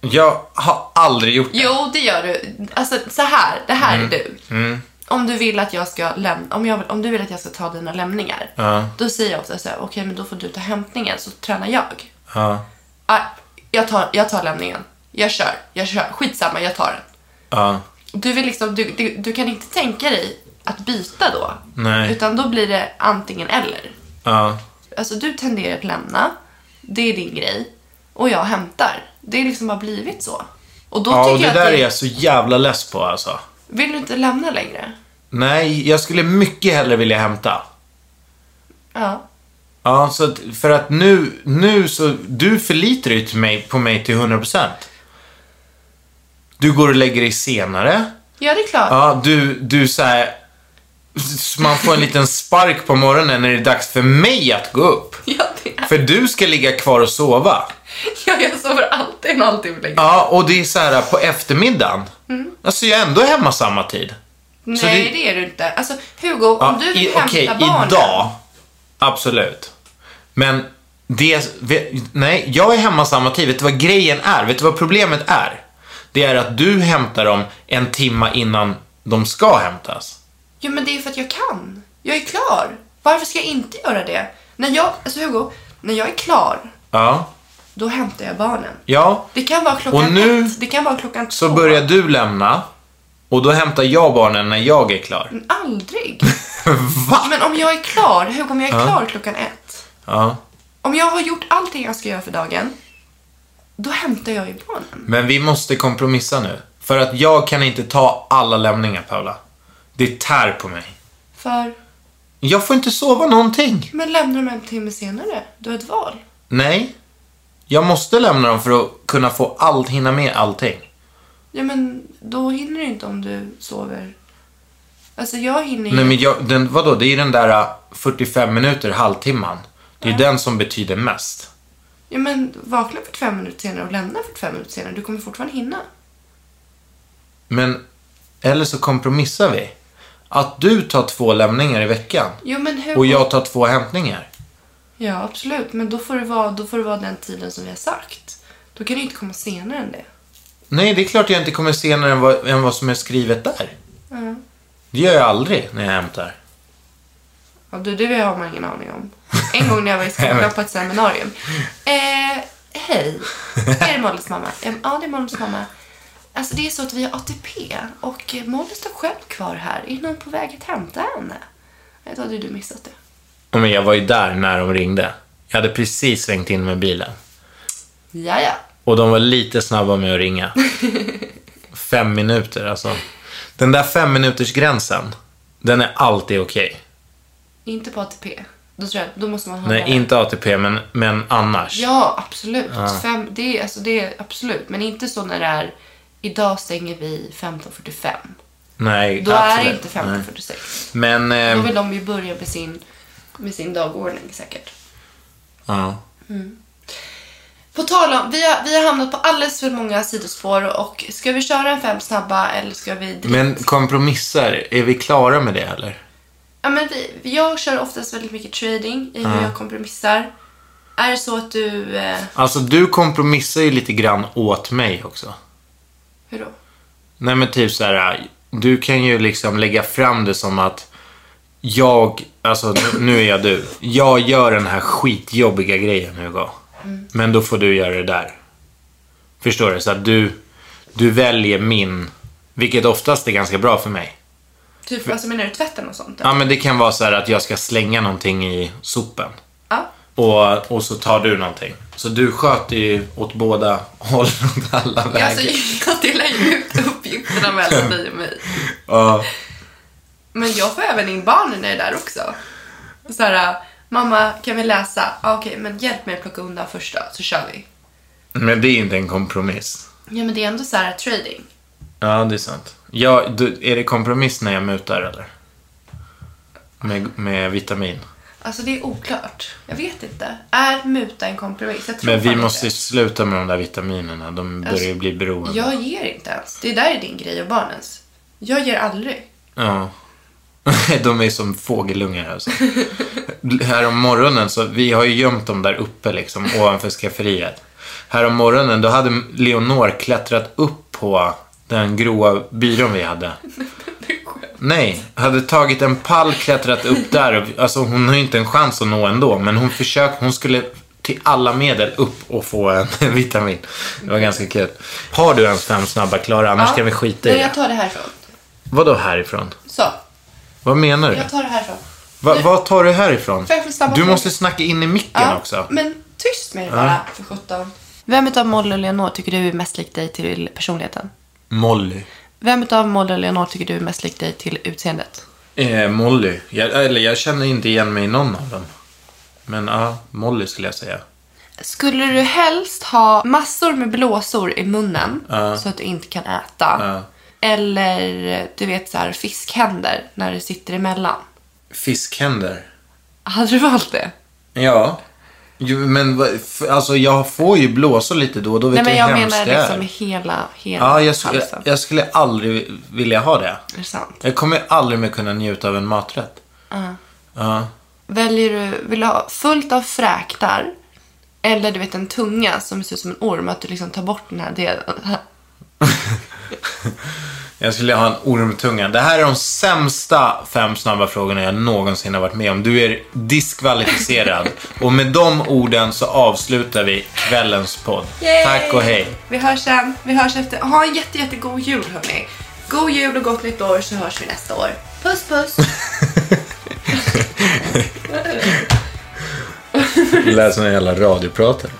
Speaker 2: Jag har aldrig gjort det.
Speaker 1: Jo, det gör du. Alltså så här, det här
Speaker 2: Mm.
Speaker 1: är du. Om du vill att jag ska lämna, om, jag, vill- om du vill att jag ska ta dina lämningar. Då säger jag ofta så här, okej men då får du ta hämtningen så tränar jag.
Speaker 2: Ja.
Speaker 1: Ah, jag, tar, jag tar lämningen. Jag kör, jag kör. Skitsamma, jag tar den.
Speaker 2: Ja.
Speaker 1: Du, vill liksom, du, du, du kan inte tänka dig att byta då.
Speaker 2: Nej.
Speaker 1: Utan då blir det antingen eller.
Speaker 2: Ja.
Speaker 1: Alltså du tenderar att lämna, det är din grej. Och jag hämtar. Det är liksom bara blivit så. Och då
Speaker 2: Ja, och
Speaker 1: tycker
Speaker 2: det
Speaker 1: jag
Speaker 2: där
Speaker 1: att
Speaker 2: är
Speaker 1: det,
Speaker 2: jag så jävla less på alltså.
Speaker 1: Vill du inte lämna längre?
Speaker 2: Nej, jag skulle mycket hellre vilja hämta.
Speaker 1: Ja.
Speaker 2: Ja, så att, för att nu, nu så, du förlitar ju till mig, på mig till 100%. Du går och lägger dig senare.
Speaker 1: Ja, det är klart.
Speaker 2: Ja, du, du så här, s- man får en liten spark på morgonen när det är dags för mig att gå upp.
Speaker 1: Ja, det är.
Speaker 2: För du ska ligga kvar och sova.
Speaker 1: Ja, jag sover alltid en halvtimme längre.
Speaker 2: Ja, och det är så här på eftermiddagen.
Speaker 1: Mm.
Speaker 2: Alltså jag är ändå hemma samma tid.
Speaker 1: Nej,
Speaker 2: så det-
Speaker 1: det... är du inte. Alltså Hugo, om
Speaker 2: Ja,
Speaker 1: du vill
Speaker 2: i-
Speaker 1: hämta
Speaker 2: okej,
Speaker 1: barnen.
Speaker 2: idag. Absolut. Men det... ve- Nej, jag är hemma samma tid. Vet du vad grejen är? Vet du vad problemet är? Det är att du hämtar dem en timma innan de ska hämtas.
Speaker 1: Jo, men det är ju för att jag kan. Jag är klar. Varför ska jag inte göra det? När jag, alltså Hugo, när jag är klar,
Speaker 2: Ja.
Speaker 1: då hämtar jag barnen.
Speaker 2: Ja.
Speaker 1: Det kan vara
Speaker 2: Och
Speaker 1: klockan
Speaker 2: nu
Speaker 1: ett, det kan vara klockan
Speaker 2: Så
Speaker 1: två.
Speaker 2: börjar du lämna och då hämtar jag barnen när jag är klar.
Speaker 1: Men Aldrig.
Speaker 2: Va?
Speaker 1: Men om jag är klar, Hugo, om jag är klar klockan ett.
Speaker 2: Ja.
Speaker 1: Om jag har gjort allting jag ska göra för dagen, då hämtar jag ju barnen.
Speaker 2: Men vi måste kompromissa nu. För att jag kan inte ta alla lämningar, Paula. Det tär på mig.
Speaker 1: För,
Speaker 2: Jag får inte sova någonting.
Speaker 1: men lämnar de en timme senare? Du har ett val.
Speaker 2: Nej. Jag måste lämna dem för att kunna få allt, hinna med allting.
Speaker 1: Ja, men då hinner du inte om du sover. Alltså jag hinner ju.
Speaker 2: Nej men jag, den, vadå, det är ju den där äh, 45 minuter, halvtimman. Det är den som betyder mest.
Speaker 1: Ja, men vakna 45 minuter senare och lämna 45 minuter senare. Du kommer fortfarande hinna.
Speaker 2: Men, eller så kompromissar vi. Att du tar två lämningar i veckan
Speaker 1: Jo, men hur...
Speaker 2: och jag tar två hämtningar.
Speaker 1: Ja, absolut. Men då får, det vara, då får det vara den tiden som vi har sagt. Då kan du inte komma senare än det.
Speaker 2: Nej, det är klart jag inte kommer senare än vad, än vad som är skrivet där.
Speaker 1: Mm.
Speaker 2: Det gör jag aldrig när jag hämtar.
Speaker 1: Ja, du, det har man ingen aning om. En gång när jag var i skolan på ett seminarium. Eh, hej, är det Mollys mamma? Eh, Ja, det är Mollys mamma. Alltså det är så att vi har ATP och eh, Molly står själv kvar här. Är någon på väg att hämta henne? Nej, då hade du missat det.
Speaker 2: Ja, Men jag var ju där när de ringde. Jag hade precis svängt in med bilen.
Speaker 1: Ja, ja.
Speaker 2: Och de var lite snabba med att ringa. fem minuter alltså. Den där fem minuters gränsen den är alltid okej.
Speaker 1: Inte på ATP. Då tror jag, då måste man ha
Speaker 2: Nej,
Speaker 1: det.
Speaker 2: inte ATP, men, men annars.
Speaker 1: Ja, absolut. Fem, det, är, alltså, det är absolut. Men inte så när det är idag stänger vi 15.45.
Speaker 2: Nej,
Speaker 1: Då är
Speaker 2: absolut.
Speaker 1: det inte
Speaker 2: Nej.
Speaker 1: 15.46.
Speaker 2: Men,
Speaker 1: Då
Speaker 2: eh,
Speaker 1: vill de ju börja med sin, med sin dagordning säkert.
Speaker 2: ja.
Speaker 1: På tal om, vi har, vi har hamnat på alldeles för många sidospår och ska vi köra en fem snabba eller ska vi... direkt-
Speaker 2: Men kompromisser, är vi klara med det eller?
Speaker 1: Ja, men vi, jag kör oftast väldigt mycket trading i hur jag kompromissar. Är det så att du... Eh,
Speaker 2: Alltså, du kompromissar ju lite grann åt mig också.
Speaker 1: hur då?
Speaker 2: Nej, men typ så här, du kan ju liksom lägga fram det som att jag, alltså nu, nu är jag du. Jag gör den här skitjobbiga grejen Hugo.
Speaker 1: Mm.
Speaker 2: Men då får du göra det där. Förstår du? Så att du, du väljer min, vilket oftast är ganska bra för mig.
Speaker 1: Typ, alltså menar du tvätten och sånt?
Speaker 2: Ja, men det kan vara så här att jag ska slänga någonting i sopen.
Speaker 1: Ja.
Speaker 2: Och, och så tar du någonting. Så du sköter ju åt båda hållen, åt alla
Speaker 1: Ja,
Speaker 2: vägar.
Speaker 1: Alltså, jag delar ju ut uppgifterna mellan dig och mig.
Speaker 2: Ja.
Speaker 1: Men jag får även in barnen när jag är där också. Så här, mamma kan vi läsa? Ah, Okej, men hjälp mig att plocka undan första så kör vi.
Speaker 2: Men det är inte en kompromiss.
Speaker 1: Ja, men det är ändå så här trading.
Speaker 2: Ja, det är sant. Ja, du, är det kompromiss när jag mutar eller? Med, med vitamin.
Speaker 1: Alltså det är oklart. Jag vet inte. Är muta en kompromiss? Jag tror
Speaker 2: Men vi
Speaker 1: fan
Speaker 2: måste ju
Speaker 1: inte.
Speaker 2: sluta med de där vitaminerna. De börjar ju
Speaker 1: Alltså,
Speaker 2: bli beroende.
Speaker 1: Jag ger inte ens. Det där är din grej och barnens. Jag ger aldrig.
Speaker 2: Ja. De är som fågelungar alltså. här om morgonen så, vi har ju gömt dem där uppe liksom, ovanför skafferiet. Här om morgonen, då hade Leonor klättrat upp på den gråa byrån vi hade. Nej, hade tagit en pall, klättrat upp där. Alltså hon har ju inte en chans att nå ändå, men hon försökte, hon skulle till alla medel upp och få en vitamin. Det var ganska kul. Har du ens fem snabba klara? Annars
Speaker 1: Ja.
Speaker 2: kan vi skita i
Speaker 1: Nej,
Speaker 2: det.
Speaker 1: jag tar det härifrån.
Speaker 2: Vadå härifrån?
Speaker 1: Så,
Speaker 2: Vad menar du?
Speaker 1: jag tar det härifrån.
Speaker 2: Va, vad tar du härifrån?
Speaker 1: Får jag få snabba
Speaker 2: Du
Speaker 1: frågor?
Speaker 2: måste snacka in i micken också.
Speaker 1: Men tyst med det bara, för sjutton. Vem utav Molly och Leonor tycker du är mest lik dig till personligheten?
Speaker 2: Molly.
Speaker 1: Vem utav Molly och Leonor tycker du är mest lik dig till utseendet?
Speaker 2: Eh, Molly. Jag, eller jag känner inte igen mig i någon av dem. Men ja, Molly skulle jag säga.
Speaker 1: Skulle du helst ha massor med blåsor i munnen så att du inte kan äta?
Speaker 2: Ja.
Speaker 1: Eller du vet så här fiskhänder när det sitter emellan?
Speaker 2: Fiskhänder.
Speaker 1: Hade du valt det?
Speaker 2: Ja. Jo, men vad- f- alltså jag får ju blåsor lite då och då.
Speaker 1: Nej
Speaker 2: Vet
Speaker 1: men
Speaker 2: du
Speaker 1: jag
Speaker 2: hur hemskt
Speaker 1: menar
Speaker 2: det är.
Speaker 1: liksom hela, hela
Speaker 2: Ja, jag, sk-
Speaker 1: halsen.
Speaker 2: jag, jag skulle aldrig vilja ha det.
Speaker 1: Är det sant?
Speaker 2: Jag kommer aldrig mer kunna njuta av en maträtt. Ja.
Speaker 1: Väljer du, vill du ha fullt av fräktar? Eller du vet en tunga som ser ut som en orm, att du liksom tar bort den här delen.
Speaker 2: Jag skulle ha en ormtunga. Det här är de sämsta fem snabba frågorna jag någonsin har varit med om. Du är diskvalificerad. och med de orden så avslutar vi kvällens podd.
Speaker 1: Yay!
Speaker 2: Tack och hej.
Speaker 1: Vi hörs sen. Vi hörs efter. Ha en jätte, jättegod jul hörni. God jul och gott nytt år så hörs vi nästa år. Puss puss.
Speaker 2: Det lät som en jävla radiopratare.